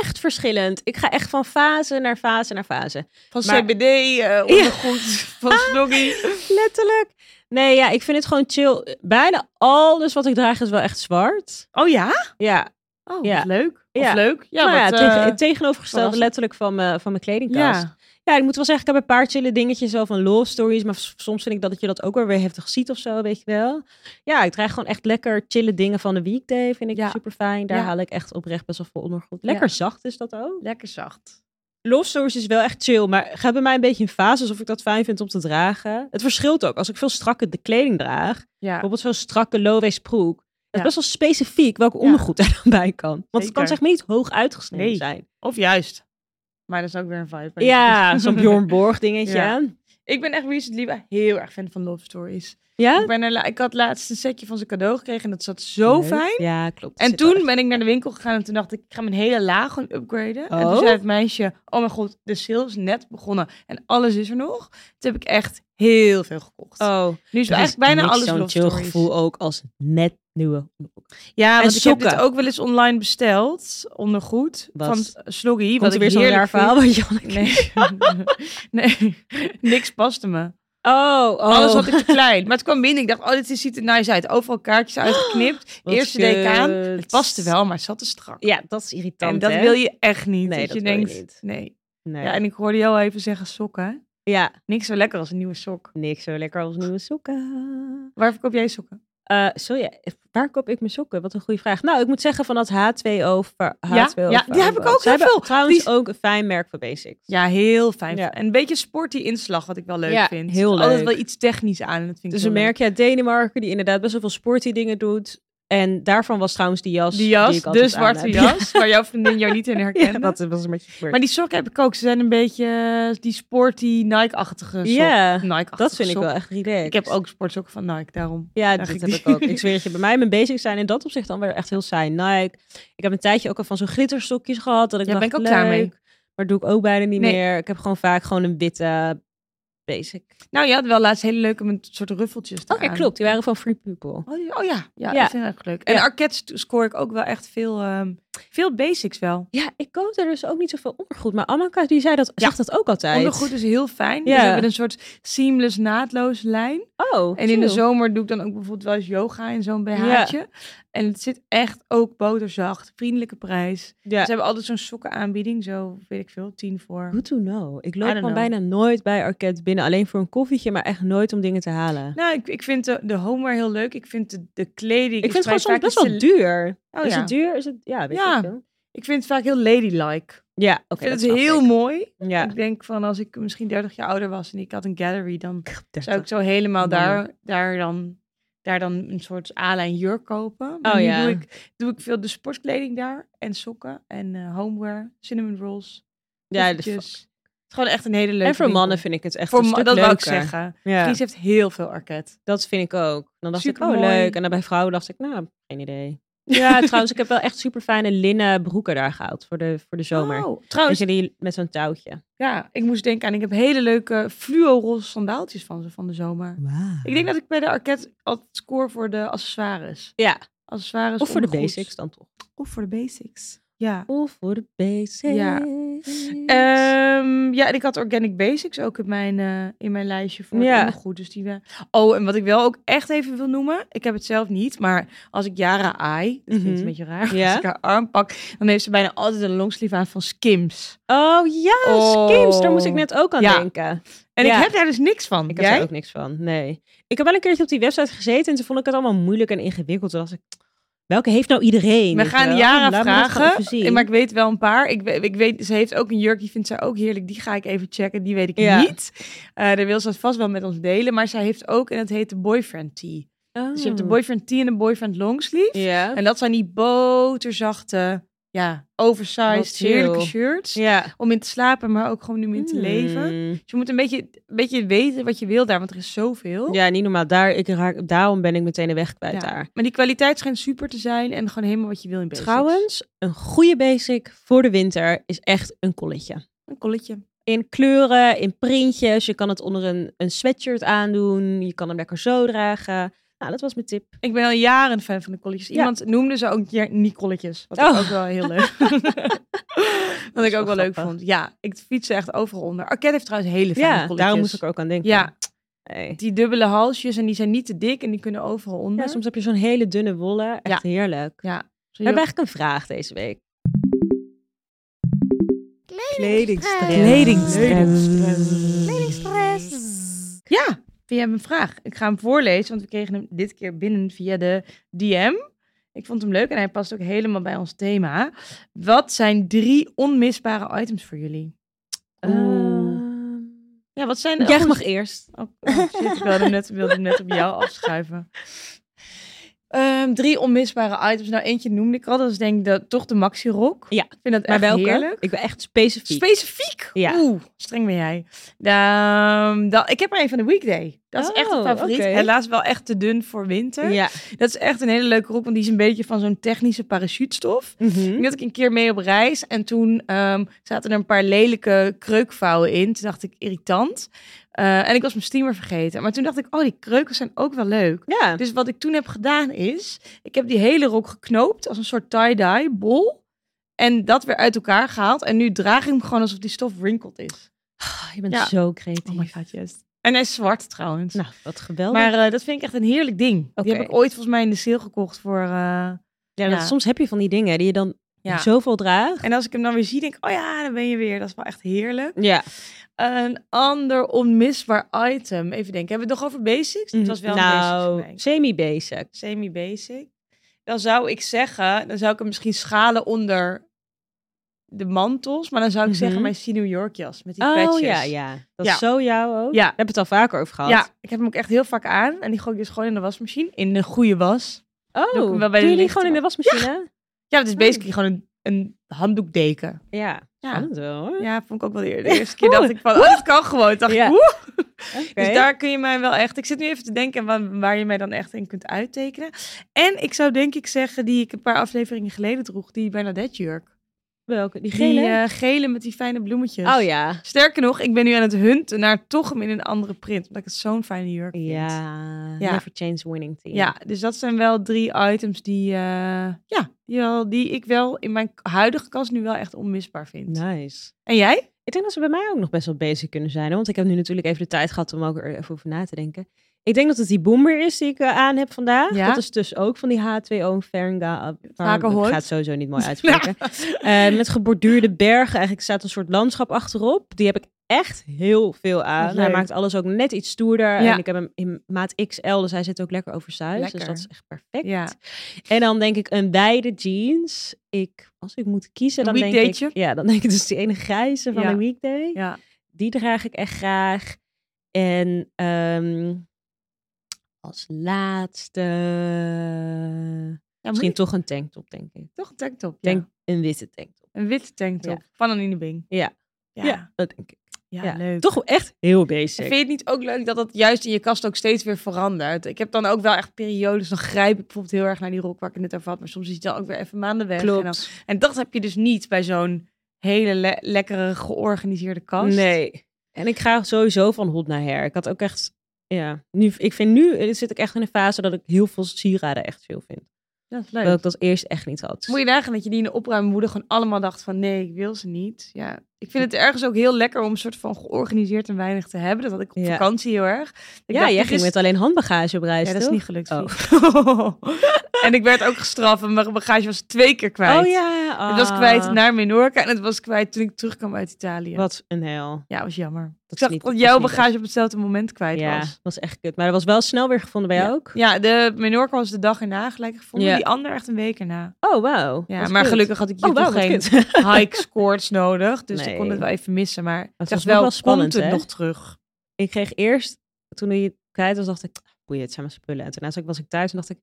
[SPEAKER 2] echt verschillend. Ik ga echt van fase naar fase naar fase.
[SPEAKER 1] Van
[SPEAKER 2] Maar-
[SPEAKER 1] CBD, eh, ondergoed, van snoggy.
[SPEAKER 2] Letterlijk. Nee, ja, ik vind het gewoon chill. Bijna alles wat ik draag is wel echt zwart.
[SPEAKER 1] Oh ja?
[SPEAKER 2] Ja,
[SPEAKER 1] Oh,
[SPEAKER 2] Ja.
[SPEAKER 1] wat leuk. Of
[SPEAKER 2] Ja.
[SPEAKER 1] leuk. Ja,
[SPEAKER 2] nou ja,
[SPEAKER 1] wat,
[SPEAKER 2] tegen-
[SPEAKER 1] eh,
[SPEAKER 2] het tegenovergestelde
[SPEAKER 1] verrassend.
[SPEAKER 2] letterlijk van mijn, van mijn kledingkast. Ja.
[SPEAKER 1] ja.
[SPEAKER 2] ik moet wel zeggen, ik heb een paar chille dingetjes zo van love stories. Maar s- soms vind ik dat je dat ook wel weer heftig ziet of zo, weet je wel. Ja, ik draag gewoon echt lekker chille dingen van de weekday. Vind ik
[SPEAKER 1] Ja.
[SPEAKER 2] super fijn. Daar
[SPEAKER 1] Ja.
[SPEAKER 2] haal ik echt oprecht best wel veel ondergoed. Lekker zacht is dat ook.
[SPEAKER 1] Lekker zacht.
[SPEAKER 2] Love Stories is wel echt chill, maar gaat bij mij een beetje in fases of ik dat fijn vind om te dragen. Het verschilt ook. Als ik veel strakke de kleding draag,
[SPEAKER 1] Ja.
[SPEAKER 2] bijvoorbeeld zo'n strakke low-waist broek,
[SPEAKER 1] Ja.
[SPEAKER 2] het is best wel specifiek welke
[SPEAKER 1] Ja.
[SPEAKER 2] ondergoed er dan bij kan. Want het
[SPEAKER 1] Zeker.
[SPEAKER 2] kan zeg maar niet hoog uitgesneden
[SPEAKER 1] Nee.
[SPEAKER 2] zijn.
[SPEAKER 1] Of juist. Maar dat is ook weer een vibe.
[SPEAKER 2] Ja, zo'n Bjorn Borg dingetje.
[SPEAKER 1] Ja.
[SPEAKER 2] Ja?
[SPEAKER 1] Ik ben echt recently wel heel erg fan van love stories. Ik, ben er, la- ik had laatst een setje van zijn cadeau gekregen en dat zat zo
[SPEAKER 2] Leuk.
[SPEAKER 1] fijn.
[SPEAKER 2] Ja, klopt.
[SPEAKER 1] En
[SPEAKER 2] Zit wel
[SPEAKER 1] toen
[SPEAKER 2] echt-
[SPEAKER 1] ben ik naar de winkel gegaan en toen dacht ik, ik ga mijn hele laag gewoon upgraden. En toen
[SPEAKER 2] Oh.
[SPEAKER 1] zei het meisje, oh mijn god, de sale is net begonnen en alles is er nog. Toen heb ik echt heel veel gekocht.
[SPEAKER 2] Oh,
[SPEAKER 1] nu is
[SPEAKER 2] er is
[SPEAKER 1] eigenlijk bijna
[SPEAKER 2] niks
[SPEAKER 1] alles
[SPEAKER 2] zo'n
[SPEAKER 1] love
[SPEAKER 2] chill
[SPEAKER 1] stories.
[SPEAKER 2] gevoel ook als net nieuwe onderbroek.
[SPEAKER 1] Ja,
[SPEAKER 2] En
[SPEAKER 1] want ik heb
[SPEAKER 2] sokken.
[SPEAKER 1] dit ook wel eens online besteld, ondergoed,
[SPEAKER 2] Wat?
[SPEAKER 1] van Sloggy.
[SPEAKER 2] Komt
[SPEAKER 1] wat
[SPEAKER 2] er
[SPEAKER 1] ik
[SPEAKER 2] weer zo'n
[SPEAKER 1] heerlijk
[SPEAKER 2] raar verhaal
[SPEAKER 1] vind.
[SPEAKER 2] bij Janneke?
[SPEAKER 1] Nee. nee, niks paste me.
[SPEAKER 2] Oh, oh.
[SPEAKER 1] Alles had ik te klein. Maar het kwam binnen. Ik dacht, oh, dit is- ziet er nice uit. Overal kaartjes uitgeknipt.
[SPEAKER 2] Oh, Wat
[SPEAKER 1] Eerste deek aan.
[SPEAKER 2] kut.
[SPEAKER 1] Het paste wel, maar het zat te strak.
[SPEAKER 2] Ja, dat is irritant,
[SPEAKER 1] en dat
[SPEAKER 2] hè?
[SPEAKER 1] wil je echt niet.
[SPEAKER 2] Nee,
[SPEAKER 1] dat,
[SPEAKER 2] dat
[SPEAKER 1] je
[SPEAKER 2] wil je
[SPEAKER 1] denkt,
[SPEAKER 2] niet.
[SPEAKER 1] nee.
[SPEAKER 2] Nee.
[SPEAKER 1] Ja, en ik hoorde jou even zeggen sokken. hè?
[SPEAKER 2] ja,
[SPEAKER 1] Niks zo lekker als een nieuwe sok.
[SPEAKER 2] Niks zo lekker als nieuwe sokken.
[SPEAKER 1] Waar verkoop jij sokken?
[SPEAKER 2] Eh, sorry, waar koop ik mijn sokken? Wat een goede vraag. Nou, ik moet zeggen van dat H2O. ver- H2O
[SPEAKER 1] Ja, ja, die heb ik ook
[SPEAKER 2] Ze
[SPEAKER 1] heel
[SPEAKER 2] hebben
[SPEAKER 1] veel.
[SPEAKER 2] Trouwens
[SPEAKER 1] Die is-
[SPEAKER 2] ook een fijn merk van Basics.
[SPEAKER 1] Ja, heel fijn.
[SPEAKER 2] Ja.
[SPEAKER 1] En een beetje sporty inslag, wat ik wel leuk
[SPEAKER 2] Ja,
[SPEAKER 1] vind.
[SPEAKER 2] heel
[SPEAKER 1] Er zit Altijd
[SPEAKER 2] leuk.
[SPEAKER 1] wel iets technisch aan. en Dat vind
[SPEAKER 2] Dus
[SPEAKER 1] ik
[SPEAKER 2] een
[SPEAKER 1] heel leuk.
[SPEAKER 2] merk uit Denemarken die inderdaad best wel veel sporty dingen doet. En daarvan was trouwens die jas.
[SPEAKER 1] Die jas,
[SPEAKER 2] die ik
[SPEAKER 1] de
[SPEAKER 2] altijd
[SPEAKER 1] zwarte
[SPEAKER 2] aan heb.
[SPEAKER 1] jas, waar jouw vriendin jou niet in
[SPEAKER 2] Ja,
[SPEAKER 1] herkende.
[SPEAKER 2] dat was een beetje gebeurd.
[SPEAKER 1] Maar die sokken heb ik ook. Ze zijn een beetje eh, die sporty, Nike-achtige sokken.
[SPEAKER 2] Ja,
[SPEAKER 1] Nike
[SPEAKER 2] dat vind ik wel echt relaxed.
[SPEAKER 1] Ik heb ook sportsokken van Nike, daarom.
[SPEAKER 2] Ja,
[SPEAKER 1] Zag
[SPEAKER 2] dat
[SPEAKER 1] ik
[SPEAKER 2] heb
[SPEAKER 1] die.
[SPEAKER 2] ik ook. Ik zweer het je, bij mij mijn basics zijn in dat opzicht dan weer echt heel saai. Nike. Ik heb een tijdje ook al van zo'n glitterstokjes gehad. Dat ik
[SPEAKER 1] Ja, ben
[SPEAKER 2] dacht,
[SPEAKER 1] ik ook klaar mee.
[SPEAKER 2] leuk, Maar doe ik ook bijna niet
[SPEAKER 1] Nee.
[SPEAKER 2] meer. Ik heb gewoon vaak gewoon een witte basic.
[SPEAKER 1] Nou, je had wel laatst hele leuke met soort ruffeltjes
[SPEAKER 2] Oké,
[SPEAKER 1] eraan.
[SPEAKER 2] Oh, klopt. Die waren van Free People.
[SPEAKER 1] Oh, die- oh ja, ja,
[SPEAKER 2] Ja.
[SPEAKER 1] dat vind ik echt leuk. En
[SPEAKER 2] Ja.
[SPEAKER 1] Arquette score ik ook wel echt veel, ehm, veel basics wel.
[SPEAKER 2] Ja, ik koop er dus ook niet zoveel ondergoed. Maar Amanka, die zei dat, zegt dat ook altijd.
[SPEAKER 1] Ondergoed is heel fijn. Dus
[SPEAKER 2] Ja.
[SPEAKER 1] we hebben een soort seamless, naadloze lijn.
[SPEAKER 2] Oh,
[SPEAKER 1] En in de
[SPEAKER 2] chill.
[SPEAKER 1] zomer doe ik dan ook bijvoorbeeld wel eens yoga in zo'n BH'tje. En het zit echt ook boterzacht. Vriendelijke prijs.
[SPEAKER 2] Ja.
[SPEAKER 1] Ze hebben altijd zo'n sokkenaanbieding. Zo, weet ik veel, tien voor.
[SPEAKER 2] Who to know? Ik
[SPEAKER 1] I
[SPEAKER 2] loop
[SPEAKER 1] don't
[SPEAKER 2] gewoon
[SPEAKER 1] know.
[SPEAKER 2] bijna nooit bij Arket binnen. Alleen voor een koffietje, maar echt nooit om dingen te halen.
[SPEAKER 1] Nou, ik, ik vind de, de homeware heel leuk. Ik vind de, de kleding...
[SPEAKER 2] ik vind het gewoon
[SPEAKER 1] vrij
[SPEAKER 2] soms best
[SPEAKER 1] vaak
[SPEAKER 2] wel duur.
[SPEAKER 1] iets- Oh,
[SPEAKER 2] is
[SPEAKER 1] ja.
[SPEAKER 2] het duur? Is het... Ja, weet
[SPEAKER 1] Ja.
[SPEAKER 2] ik veel.
[SPEAKER 1] Ik vind het vaak heel ladylike.
[SPEAKER 2] Ja, oké.
[SPEAKER 1] Ik vind
[SPEAKER 2] snap
[SPEAKER 1] het heel
[SPEAKER 2] ik.
[SPEAKER 1] mooi.
[SPEAKER 2] Ja.
[SPEAKER 1] Ik denk van als ik misschien 30 jaar ouder was en ik had een gallery, dan zou ik zo helemaal
[SPEAKER 2] Mannen.
[SPEAKER 1] daar, daar, dan, daar dan een soort A-lijn jurk kopen. Maar
[SPEAKER 2] Oh
[SPEAKER 1] nu
[SPEAKER 2] ja.
[SPEAKER 1] doe ik, doe ik veel de sportkleding daar en sokken en eh, homeware, cinnamon rolls,
[SPEAKER 2] Ja, de
[SPEAKER 1] koffietjes. Het is gewoon echt een hele leuke
[SPEAKER 2] En voor
[SPEAKER 1] winkel.
[SPEAKER 2] mannen vind ik het echt
[SPEAKER 1] voor
[SPEAKER 2] een
[SPEAKER 1] ma-
[SPEAKER 2] stuk
[SPEAKER 1] dat wou ik
[SPEAKER 2] leuker.
[SPEAKER 1] zeggen.
[SPEAKER 2] Ja,
[SPEAKER 1] Fries heeft heel veel arket.
[SPEAKER 2] dat vind ik ook. Dan dacht ik, oh
[SPEAKER 1] Supermooi.
[SPEAKER 2] leuk. En dan bij vrouwen dacht ik, nou, geen idee. Ja, trouwens, ik heb wel echt super fijne linnen broeken daar gehaald voor de, voor de zomer.
[SPEAKER 1] Oh,
[SPEAKER 2] Dus
[SPEAKER 1] trouwens,
[SPEAKER 2] jullie met zo'n touwtje.
[SPEAKER 1] ja, ik moest denken aan, ik heb hele leuke fluoroze sandaaltjes van ze van de zomer. Ik denk dat ik bij de arket altijd score voor de accessoires.
[SPEAKER 2] Ja,
[SPEAKER 1] Accessoires
[SPEAKER 2] of voor de
[SPEAKER 1] ondergoed.
[SPEAKER 2] basics dan toch.
[SPEAKER 1] Of voor de basics. Ja.
[SPEAKER 2] Of voor de basics.
[SPEAKER 1] Ja.
[SPEAKER 2] Eh,
[SPEAKER 1] Ehm, ja, en ik had Organic Basics ook in mijn, eh, in mijn lijstje voor
[SPEAKER 2] Ja.
[SPEAKER 1] ja. goed. Dus die we... Oh, en wat ik wel ook echt even wil noemen. Ik heb het zelf niet, maar als ik Yara ai, dat klinkt
[SPEAKER 2] Mhm.
[SPEAKER 1] een beetje raar.
[SPEAKER 2] Ja.
[SPEAKER 1] Als ik haar arm pak, dan heeft ze bijna altijd een longsleeve aan van Skims.
[SPEAKER 2] Oh ja,
[SPEAKER 1] Oh.
[SPEAKER 2] Skims, daar moest ik net ook aan
[SPEAKER 1] Ja.
[SPEAKER 2] denken.
[SPEAKER 1] En
[SPEAKER 2] Ja.
[SPEAKER 1] ik heb daar dus niks van.
[SPEAKER 2] Ik heb
[SPEAKER 1] Jij?
[SPEAKER 2] daar ook niks van, nee. Ik heb wel een keertje op die website gezeten en toen vond ik het allemaal moeilijk en ingewikkeld. Toen dacht ik, welke heeft nou iedereen?
[SPEAKER 1] We
[SPEAKER 2] weet je
[SPEAKER 1] gaan
[SPEAKER 2] wel?
[SPEAKER 1] Yara
[SPEAKER 2] Laat me dat gewoon even zien.
[SPEAKER 1] vragen. Maar ik weet wel een paar. Ik, we- ik weet, ze heeft ook een jurk, die vindt zij ook heerlijk. Die ga ik even checken, die weet ik
[SPEAKER 2] Ja.
[SPEAKER 1] niet. Eh daar wil ze het vast wel met ons delen. Maar zij heeft ook, en dat heet de Boyfriend Tee. Dus je hebt de
[SPEAKER 2] Oh.
[SPEAKER 1] boyfriend tee en de boyfriend longsleeve.
[SPEAKER 2] Ja.
[SPEAKER 1] En dat zijn die boterzachte, ja,
[SPEAKER 2] Wat
[SPEAKER 1] oversized,
[SPEAKER 2] chill.
[SPEAKER 1] heerlijke shirts.
[SPEAKER 2] ja.
[SPEAKER 1] Om in te slapen, maar ook gewoon om in te leven.
[SPEAKER 2] Hmm.
[SPEAKER 1] Dus je moet een beetje, een beetje weten wat je wil daar, want er is zoveel.
[SPEAKER 2] Ja, niet normaal. Daar, ik raak, daarom ben ik meteen de weg kwijt
[SPEAKER 1] Ja.
[SPEAKER 2] daar.
[SPEAKER 1] Maar die kwaliteit schijnt super te zijn en gewoon helemaal wat je wil in basics.
[SPEAKER 2] Trouwens, een goede basic voor de winter is echt een colletje.
[SPEAKER 1] Een kolletje.
[SPEAKER 2] In kleuren, in printjes. Je kan het onder een, een sweatshirt aandoen. Je kan hem lekker zo dragen. Nou, dat was mijn tip.
[SPEAKER 1] Ik ben al jaren fan van de kolletjes.
[SPEAKER 2] Ja.
[SPEAKER 1] Iemand noemde ze ook een keer Nicolletjes. Wat
[SPEAKER 2] Oh.
[SPEAKER 1] ik ook wel heel leuk Wat
[SPEAKER 2] is
[SPEAKER 1] ik
[SPEAKER 2] wel
[SPEAKER 1] ook wel leuk
[SPEAKER 2] grappig.
[SPEAKER 1] vond. Ja, ik fiets er echt overal onder. Arquette heeft trouwens hele fijne
[SPEAKER 2] Ja,
[SPEAKER 1] kolletjes.
[SPEAKER 2] daarom moest ik er ook aan denken.
[SPEAKER 1] Ja,
[SPEAKER 2] Hey.
[SPEAKER 1] die dubbele halsjes en die zijn niet te dik en die kunnen overal onder.
[SPEAKER 2] Ja, soms heb je zo'n hele dunne wollen. Echt heerlijk.
[SPEAKER 1] Ja. Zo
[SPEAKER 2] We hebben
[SPEAKER 1] heel-
[SPEAKER 2] eigenlijk een vraag deze week.
[SPEAKER 3] Kledingstress. Kledingstress.
[SPEAKER 1] Ja, we hebben een vraag. Ik ga hem voorlezen, want we kregen hem dit keer binnen via de DM. Ik vond hem leuk en hij past ook helemaal bij ons thema. Wat zijn drie onmisbare items voor jullie? Eh,
[SPEAKER 2] Ehm,
[SPEAKER 1] Ja, wat zijn
[SPEAKER 2] Jij mag eerst.
[SPEAKER 1] Oh, oh, shit, ik wilde hem net, wilde hem net op jou afschuiven. Ehm, drie onmisbare items. Nou, eentje noemde ik al. Dat is denk ik de, toch de maxi-rok.
[SPEAKER 2] Ja,
[SPEAKER 1] ik vind dat
[SPEAKER 2] Maar
[SPEAKER 1] echt
[SPEAKER 2] welke?
[SPEAKER 1] heerlijk.
[SPEAKER 2] Ik ben echt specifiek.
[SPEAKER 1] Specifiek?
[SPEAKER 2] Ja.
[SPEAKER 1] Oeh, streng ben jij. Ehm, dan, ik heb er een van de weekday. Dat is echt een
[SPEAKER 2] Oh,
[SPEAKER 1] favoriet.
[SPEAKER 2] oké.
[SPEAKER 1] Helaas wel echt te dun voor winter.
[SPEAKER 2] ja.
[SPEAKER 1] Dat is echt een hele leuke rok, want die is een beetje van zo'n technische parachutestof.
[SPEAKER 2] Hm? Mhm.
[SPEAKER 1] Ik denk dat ik een keer mee op reis en toen ehm, zaten er een paar lelijke kreukvouwen in. Toen dacht ik, irritant. Eh, en ik was mijn steamer vergeten. Maar toen dacht ik, oh, die kreuken zijn ook wel leuk.
[SPEAKER 2] Ja.
[SPEAKER 1] Dus wat ik toen heb gedaan is, ik heb die hele rok geknoopt als een soort tie-dye bol. En dat weer uit elkaar gehaald. En nu draag ik hem gewoon alsof die stof wrinkled is.
[SPEAKER 2] Ah, je bent
[SPEAKER 1] Ja.
[SPEAKER 2] zo creatief.
[SPEAKER 1] god, yes. En hij is zwart trouwens.
[SPEAKER 2] Nou, wat geweldig.
[SPEAKER 1] maar eh, dat vind ik echt een heerlijk ding.
[SPEAKER 2] Oké.
[SPEAKER 1] Die heb ik ooit volgens mij in de sale gekocht voor... eh,
[SPEAKER 2] ja, nou. dat-
[SPEAKER 1] ja.
[SPEAKER 2] Soms heb je van die dingen die je dan
[SPEAKER 1] Ja.
[SPEAKER 2] zoveel draagt.
[SPEAKER 1] En als ik hem dan weer zie, denk ik, oh ja, dan ben je weer. Dat is wel echt heerlijk.
[SPEAKER 2] Ja.
[SPEAKER 1] Een ander onmisbaar item. Even denken, hebben we het nog over basics? Het was wel een
[SPEAKER 2] nou,
[SPEAKER 1] basic
[SPEAKER 2] semi-basic.
[SPEAKER 1] Semi-basic. Dan zou ik zeggen, dan zou ik hem misschien schalen onder de mantels. Maar dan zou ik
[SPEAKER 2] Mhm.
[SPEAKER 1] zeggen mijn New York jas met die
[SPEAKER 2] Oh
[SPEAKER 1] petjes.
[SPEAKER 2] ja, ja. Dat
[SPEAKER 1] Ja.
[SPEAKER 2] is zo jou ook.
[SPEAKER 1] Ja.
[SPEAKER 2] We hebben het al vaker over gehad.
[SPEAKER 1] Ja, ik heb hem ook echt heel vaak aan. En die gooi ik dus gewoon in de wasmachine. In de goede was.
[SPEAKER 2] Oh,
[SPEAKER 1] Doe ik hem wel bij de
[SPEAKER 2] doen jullie
[SPEAKER 1] lichte
[SPEAKER 2] gewoon in de
[SPEAKER 1] wa-
[SPEAKER 2] wasmachine?
[SPEAKER 1] Ja, het is basically gewoon een, een handdoekdeken.
[SPEAKER 2] Ah. Ja.
[SPEAKER 1] Ja.
[SPEAKER 2] Spannend wel hoor.
[SPEAKER 1] Ja, vond ik ook wel de eer- de eerste keer dacht ik van, oh, dat kan gewoon. Toen dacht ik,
[SPEAKER 2] Ja.
[SPEAKER 1] "Oeh."
[SPEAKER 2] Oké.
[SPEAKER 1] Dus daar kun je mij wel echt. Ik zit nu even te denken waar, waar je mij dan echt in kunt uittekenen. En ik zou denk ik zeggen die ik een paar afleveringen geleden droeg, die Bernadette jurk.
[SPEAKER 2] Welke? Die
[SPEAKER 1] Die
[SPEAKER 2] gele?
[SPEAKER 1] eh, gele met die fijne bloemetjes.
[SPEAKER 2] oh ja.
[SPEAKER 1] Sterker nog, ik ben nu aan het hunten naar toch hem in een andere print. Omdat ik het zo'n fijne jurk vind.
[SPEAKER 2] Ja.
[SPEAKER 1] Ja.
[SPEAKER 2] Never change winning team.
[SPEAKER 1] Ja, dus dat zijn wel drie items die, eh, ja, die, wel, die ik wel in mijn huidige kast nu wel echt onmisbaar vind.
[SPEAKER 2] Nice.
[SPEAKER 1] En jij?
[SPEAKER 2] Ik denk dat ze bij mij ook nog best wel bezig kunnen zijn. hoor. Want ik heb nu natuurlijk even de tijd gehad om ook er even over na te denken. Ik denk dat het die boomer is die ik eh, aan heb vandaag.
[SPEAKER 1] Ja.
[SPEAKER 2] Dat is dus ook van die H2O Feringa.
[SPEAKER 1] Vaker
[SPEAKER 2] Ik
[SPEAKER 1] hoort.
[SPEAKER 2] ga het Ah, sowieso niet mooi uitspreken. Eh, met geborduurde bergen. Eigenlijk staat een soort landschap achterop. Die heb ik echt heel veel aan.
[SPEAKER 1] Wat
[SPEAKER 2] Hij
[SPEAKER 1] leuk.
[SPEAKER 2] maakt alles ook net iets stoerder.
[SPEAKER 1] Ja.
[SPEAKER 2] En ik heb hem in maat XL. Dus hij zit ook lekker oversized. Dus
[SPEAKER 1] Lekker.
[SPEAKER 2] dat is echt perfect.
[SPEAKER 1] Ja.
[SPEAKER 2] En dan denk ik een wijde jeans. Ik, als ik moet kiezen,
[SPEAKER 1] Een
[SPEAKER 2] dan denk ik,
[SPEAKER 1] weekdaytje?
[SPEAKER 2] ja, dan denk ik dus die ene grijze van
[SPEAKER 1] Ja.
[SPEAKER 2] de weekday.
[SPEAKER 1] Ja.
[SPEAKER 2] Die draag ik echt graag. En ehm, als laatste misschien toch een tanktop, denk ik.
[SPEAKER 1] toch een tanktop. ja.
[SPEAKER 2] Denk een witte tanktop.
[SPEAKER 1] Een witte tanktop van Anine Bing.
[SPEAKER 2] Ja.
[SPEAKER 1] Ja,
[SPEAKER 2] dat denk ik.
[SPEAKER 1] ja,
[SPEAKER 2] Ja.
[SPEAKER 1] leuk.
[SPEAKER 2] Toch echt heel
[SPEAKER 1] En
[SPEAKER 2] basic.
[SPEAKER 1] Vind je het niet ook leuk dat dat juist in je kast ook steeds weer verandert? Ik heb dan ook wel echt periodes, dan grijp ik bijvoorbeeld heel erg naar die rok waar ik het net over had. Maar soms is het dan ook weer even maanden weg. En, dan- en dat heb je dus niet bij zo'n hele le- lekkere georganiseerde kast.
[SPEAKER 2] Nee. En ik ga sowieso van hot naar her. Ik had ook echt, ja, nu, ik vind nu eh, zit ik echt in een fase dat ik heel veel sieraden echt veel vind.
[SPEAKER 1] Dat is leuk.
[SPEAKER 2] Terwijl ik dat eerst echt niet had.
[SPEAKER 1] Moet je nagaan dat je die in de opruimwoede gewoon allemaal dacht van nee, ik wil ze niet. Ja, ik vind het ergens ook heel lekker om een soort van georganiseerd en weinig te hebben. Dat had ik op
[SPEAKER 2] Ja.
[SPEAKER 1] vakantie heel erg. Ik
[SPEAKER 2] ja,
[SPEAKER 1] dacht,
[SPEAKER 2] jij
[SPEAKER 1] dit
[SPEAKER 2] ging
[SPEAKER 1] is-
[SPEAKER 2] met alleen handbagage op reis,
[SPEAKER 1] Ja, dat is
[SPEAKER 2] toch? Oh.
[SPEAKER 1] niet gelukt. Fiet. en ik werd ook gestraft en mijn bagage was twee keer kwijt.
[SPEAKER 2] Oh ja.
[SPEAKER 1] Het was
[SPEAKER 2] ah.
[SPEAKER 1] kwijt naar Menorca en het was kwijt toen ik terugkwam uit Italië.
[SPEAKER 2] Wat een hel.
[SPEAKER 1] Ja, was jammer.
[SPEAKER 2] Dat
[SPEAKER 1] ik zag
[SPEAKER 2] is niet-
[SPEAKER 1] dat
[SPEAKER 2] is
[SPEAKER 1] jouw
[SPEAKER 2] niet
[SPEAKER 1] bagage op hetzelfde moment kwijt
[SPEAKER 2] best. Ja,
[SPEAKER 1] was.
[SPEAKER 2] dat was echt kut. Maar dat was wel snel weer gevonden bij jou ook?
[SPEAKER 1] Ja, de Menorca was de dag erna gelijk gevonden.
[SPEAKER 2] Ja.
[SPEAKER 1] Die ander echt een week erna.
[SPEAKER 2] Oh, wauw.
[SPEAKER 1] Ja,
[SPEAKER 2] Wat
[SPEAKER 1] maar
[SPEAKER 2] kut.
[SPEAKER 1] gelukkig had ik hier
[SPEAKER 2] Oh, wauw,
[SPEAKER 1] toch geen
[SPEAKER 2] geen... kut.
[SPEAKER 1] hike scores nodig. Dus ik kon
[SPEAKER 2] Nee.
[SPEAKER 1] het wel even missen. Maar het
[SPEAKER 2] was
[SPEAKER 1] was
[SPEAKER 2] nog
[SPEAKER 1] wel,
[SPEAKER 2] wel spannend,
[SPEAKER 1] komt het
[SPEAKER 2] hè?
[SPEAKER 1] nog terug?
[SPEAKER 2] ik kreeg eerst, toen hij het kwijt was, dacht ik, "Ah, boeien, het zijn mijn spullen. En toen was ik- was ik thuis en dacht ik,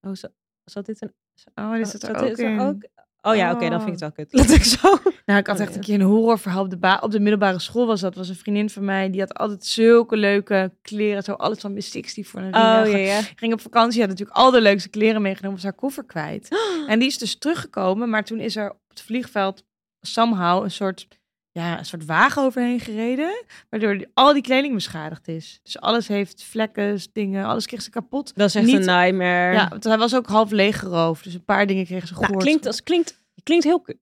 [SPEAKER 2] oh, za- zat dit een...
[SPEAKER 1] Oh, is het er
[SPEAKER 2] zat
[SPEAKER 1] ook
[SPEAKER 2] dit er
[SPEAKER 1] in?
[SPEAKER 2] ook? Oh ja, oké, dan vind ik het wel kut. Dat ik zo...
[SPEAKER 1] Nou, ik had
[SPEAKER 2] Oh,
[SPEAKER 1] echt
[SPEAKER 2] ja.
[SPEAKER 1] een keer een horrorverhaal op de, ba- op de middelbare school was dat. was een vriendin van mij, die had altijd zulke leuke kleren. Zo alles van Miss Sixty voor een
[SPEAKER 2] Oh ja, ja.
[SPEAKER 1] Ging op vakantie, had natuurlijk al de leukste kleren meegenomen. Was haar koffer kwijt. En die is dus teruggekomen, maar toen is er op het vliegveld somehow een soort, ja, een soort wagen overheen gereden. Waardoor die- al die kleding beschadigd is. Dus alles heeft vlekken, dingen, alles kreeg ze kapot.
[SPEAKER 2] Dat is echt
[SPEAKER 1] Niet-
[SPEAKER 2] een nightmare.
[SPEAKER 1] Ja, want hij was ook half leeg geroofd. Dus een paar dingen kregen ze
[SPEAKER 2] Nou,
[SPEAKER 1] gehoord.
[SPEAKER 2] klinkt, als, klinkt, klinkt heel kut.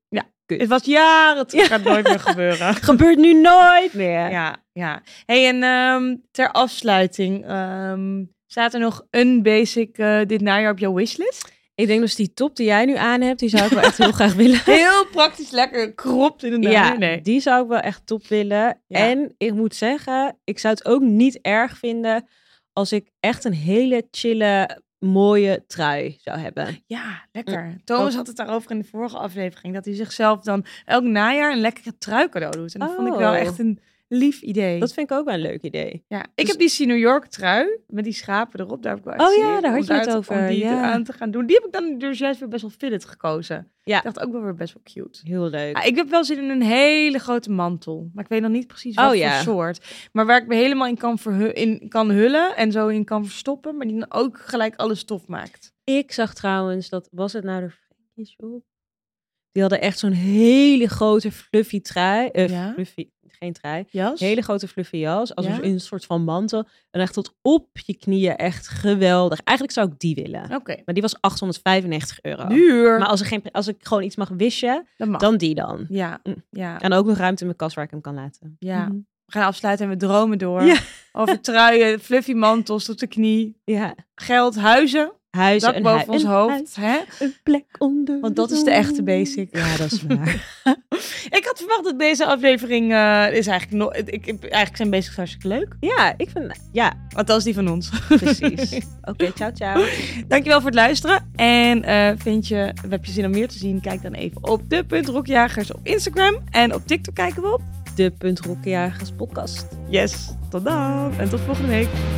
[SPEAKER 1] Het was jaren terug. Gaat nooit meer gebeuren.
[SPEAKER 2] Gebeurt nu nooit meer.
[SPEAKER 1] Ja, ja. Hey, en ehm, ter afsluiting. ehm, staat er nog een basic eh, dit najaar op jouw wishlist?
[SPEAKER 2] Ik denk dus die top die jij nu aan hebt, die zou ik wel echt heel graag willen.
[SPEAKER 1] Heel praktisch, lekker kropt in de
[SPEAKER 2] Ja,
[SPEAKER 1] Nee.
[SPEAKER 2] die zou ik wel echt top willen.
[SPEAKER 1] Ja.
[SPEAKER 2] En ik moet zeggen, ik zou het ook niet erg vinden als ik echt een hele chille, mooie trui zou hebben.
[SPEAKER 1] Ja,
[SPEAKER 2] Mm,
[SPEAKER 1] lekker. Thomas had het daarover in de vorige aflevering. Dat hij zichzelf dan elk najaar een lekkere trui cadeau doet. En dat vond ik wel
[SPEAKER 2] Oh.
[SPEAKER 1] echt een lief idee.
[SPEAKER 2] Dat vind ik ook wel een leuk idee.
[SPEAKER 1] ja. Ik
[SPEAKER 2] dus-
[SPEAKER 1] heb die New York trui met die schapen erop. Daar heb ik wel echt
[SPEAKER 2] Oh
[SPEAKER 1] zin
[SPEAKER 2] ja,
[SPEAKER 1] in,
[SPEAKER 2] daar
[SPEAKER 1] om
[SPEAKER 2] had je het
[SPEAKER 1] te- om
[SPEAKER 2] over,
[SPEAKER 1] die
[SPEAKER 2] ja.
[SPEAKER 1] aan te gaan doen. Die heb ik dan dus juist weer best wel fitted gekozen.
[SPEAKER 2] Ja.
[SPEAKER 1] Ik dacht ook wel weer best wel cute.
[SPEAKER 2] Heel leuk.
[SPEAKER 1] Ja, ik heb wel zin in een hele grote mantel. Maar ik weet nog niet precies wat
[SPEAKER 2] Oh, ja.
[SPEAKER 1] voor soort. Maar waar ik me helemaal in kan, verhu- in kan hullen en zo in kan verstoppen. Maar die dan ook gelijk alle stof maakt.
[SPEAKER 2] Ik zag trouwens, dat was het nou de Frankie Shop? Die hadden echt zo'n hele grote fluffy trui. eh,
[SPEAKER 1] Ja?
[SPEAKER 2] fluffy, geen trui.
[SPEAKER 1] Jas?
[SPEAKER 2] Hele grote fluffy jas, als
[SPEAKER 1] Ja?
[SPEAKER 2] een- een soort van mantel. En echt tot op je knieën, echt geweldig. Eigenlijk zou ik die willen.
[SPEAKER 1] Oké.
[SPEAKER 2] Maar die was 895 euro.
[SPEAKER 1] Duur.
[SPEAKER 2] Maar als, er geen, als ik gewoon iets mag wissen,
[SPEAKER 1] dat mag.
[SPEAKER 2] dan die dan.
[SPEAKER 1] Ja,
[SPEAKER 2] Mm.
[SPEAKER 1] ja, Mm.
[SPEAKER 2] En ook nog ruimte in mijn kast waar ik hem kan laten.
[SPEAKER 1] ja.
[SPEAKER 2] Mhm.
[SPEAKER 1] We gaan afsluiten en we dromen door.
[SPEAKER 2] Ja.
[SPEAKER 1] Over truien, fluffy mantels tot de knie.
[SPEAKER 2] ja.
[SPEAKER 1] Geld, huizen,
[SPEAKER 2] Huizen,
[SPEAKER 1] dak
[SPEAKER 2] en
[SPEAKER 1] boven ons hoofd.
[SPEAKER 2] Huis,
[SPEAKER 1] Hè?
[SPEAKER 2] een plek onder
[SPEAKER 1] Want dat is de
[SPEAKER 2] zon.
[SPEAKER 1] echte basic.
[SPEAKER 2] Ja, dat is waar.
[SPEAKER 1] Ik had verwacht dat deze aflevering eh, is eigenlijk... nog. ik, ik- eigenlijk zijn basics hartstikke leuk.
[SPEAKER 2] ja, ik vind... Ja,
[SPEAKER 1] Althans die van ons.
[SPEAKER 2] precies. Oké, ciao, ciao.
[SPEAKER 1] Dankjewel voor het luisteren. En eh, vind je, heb je zin om meer te zien? Kijk dan even op de.rokjagers op Instagram. En op TikTok kijken we op.
[SPEAKER 2] De Punt Rokkenjagers podcast.
[SPEAKER 1] Yes, tot dan. En tot volgende week.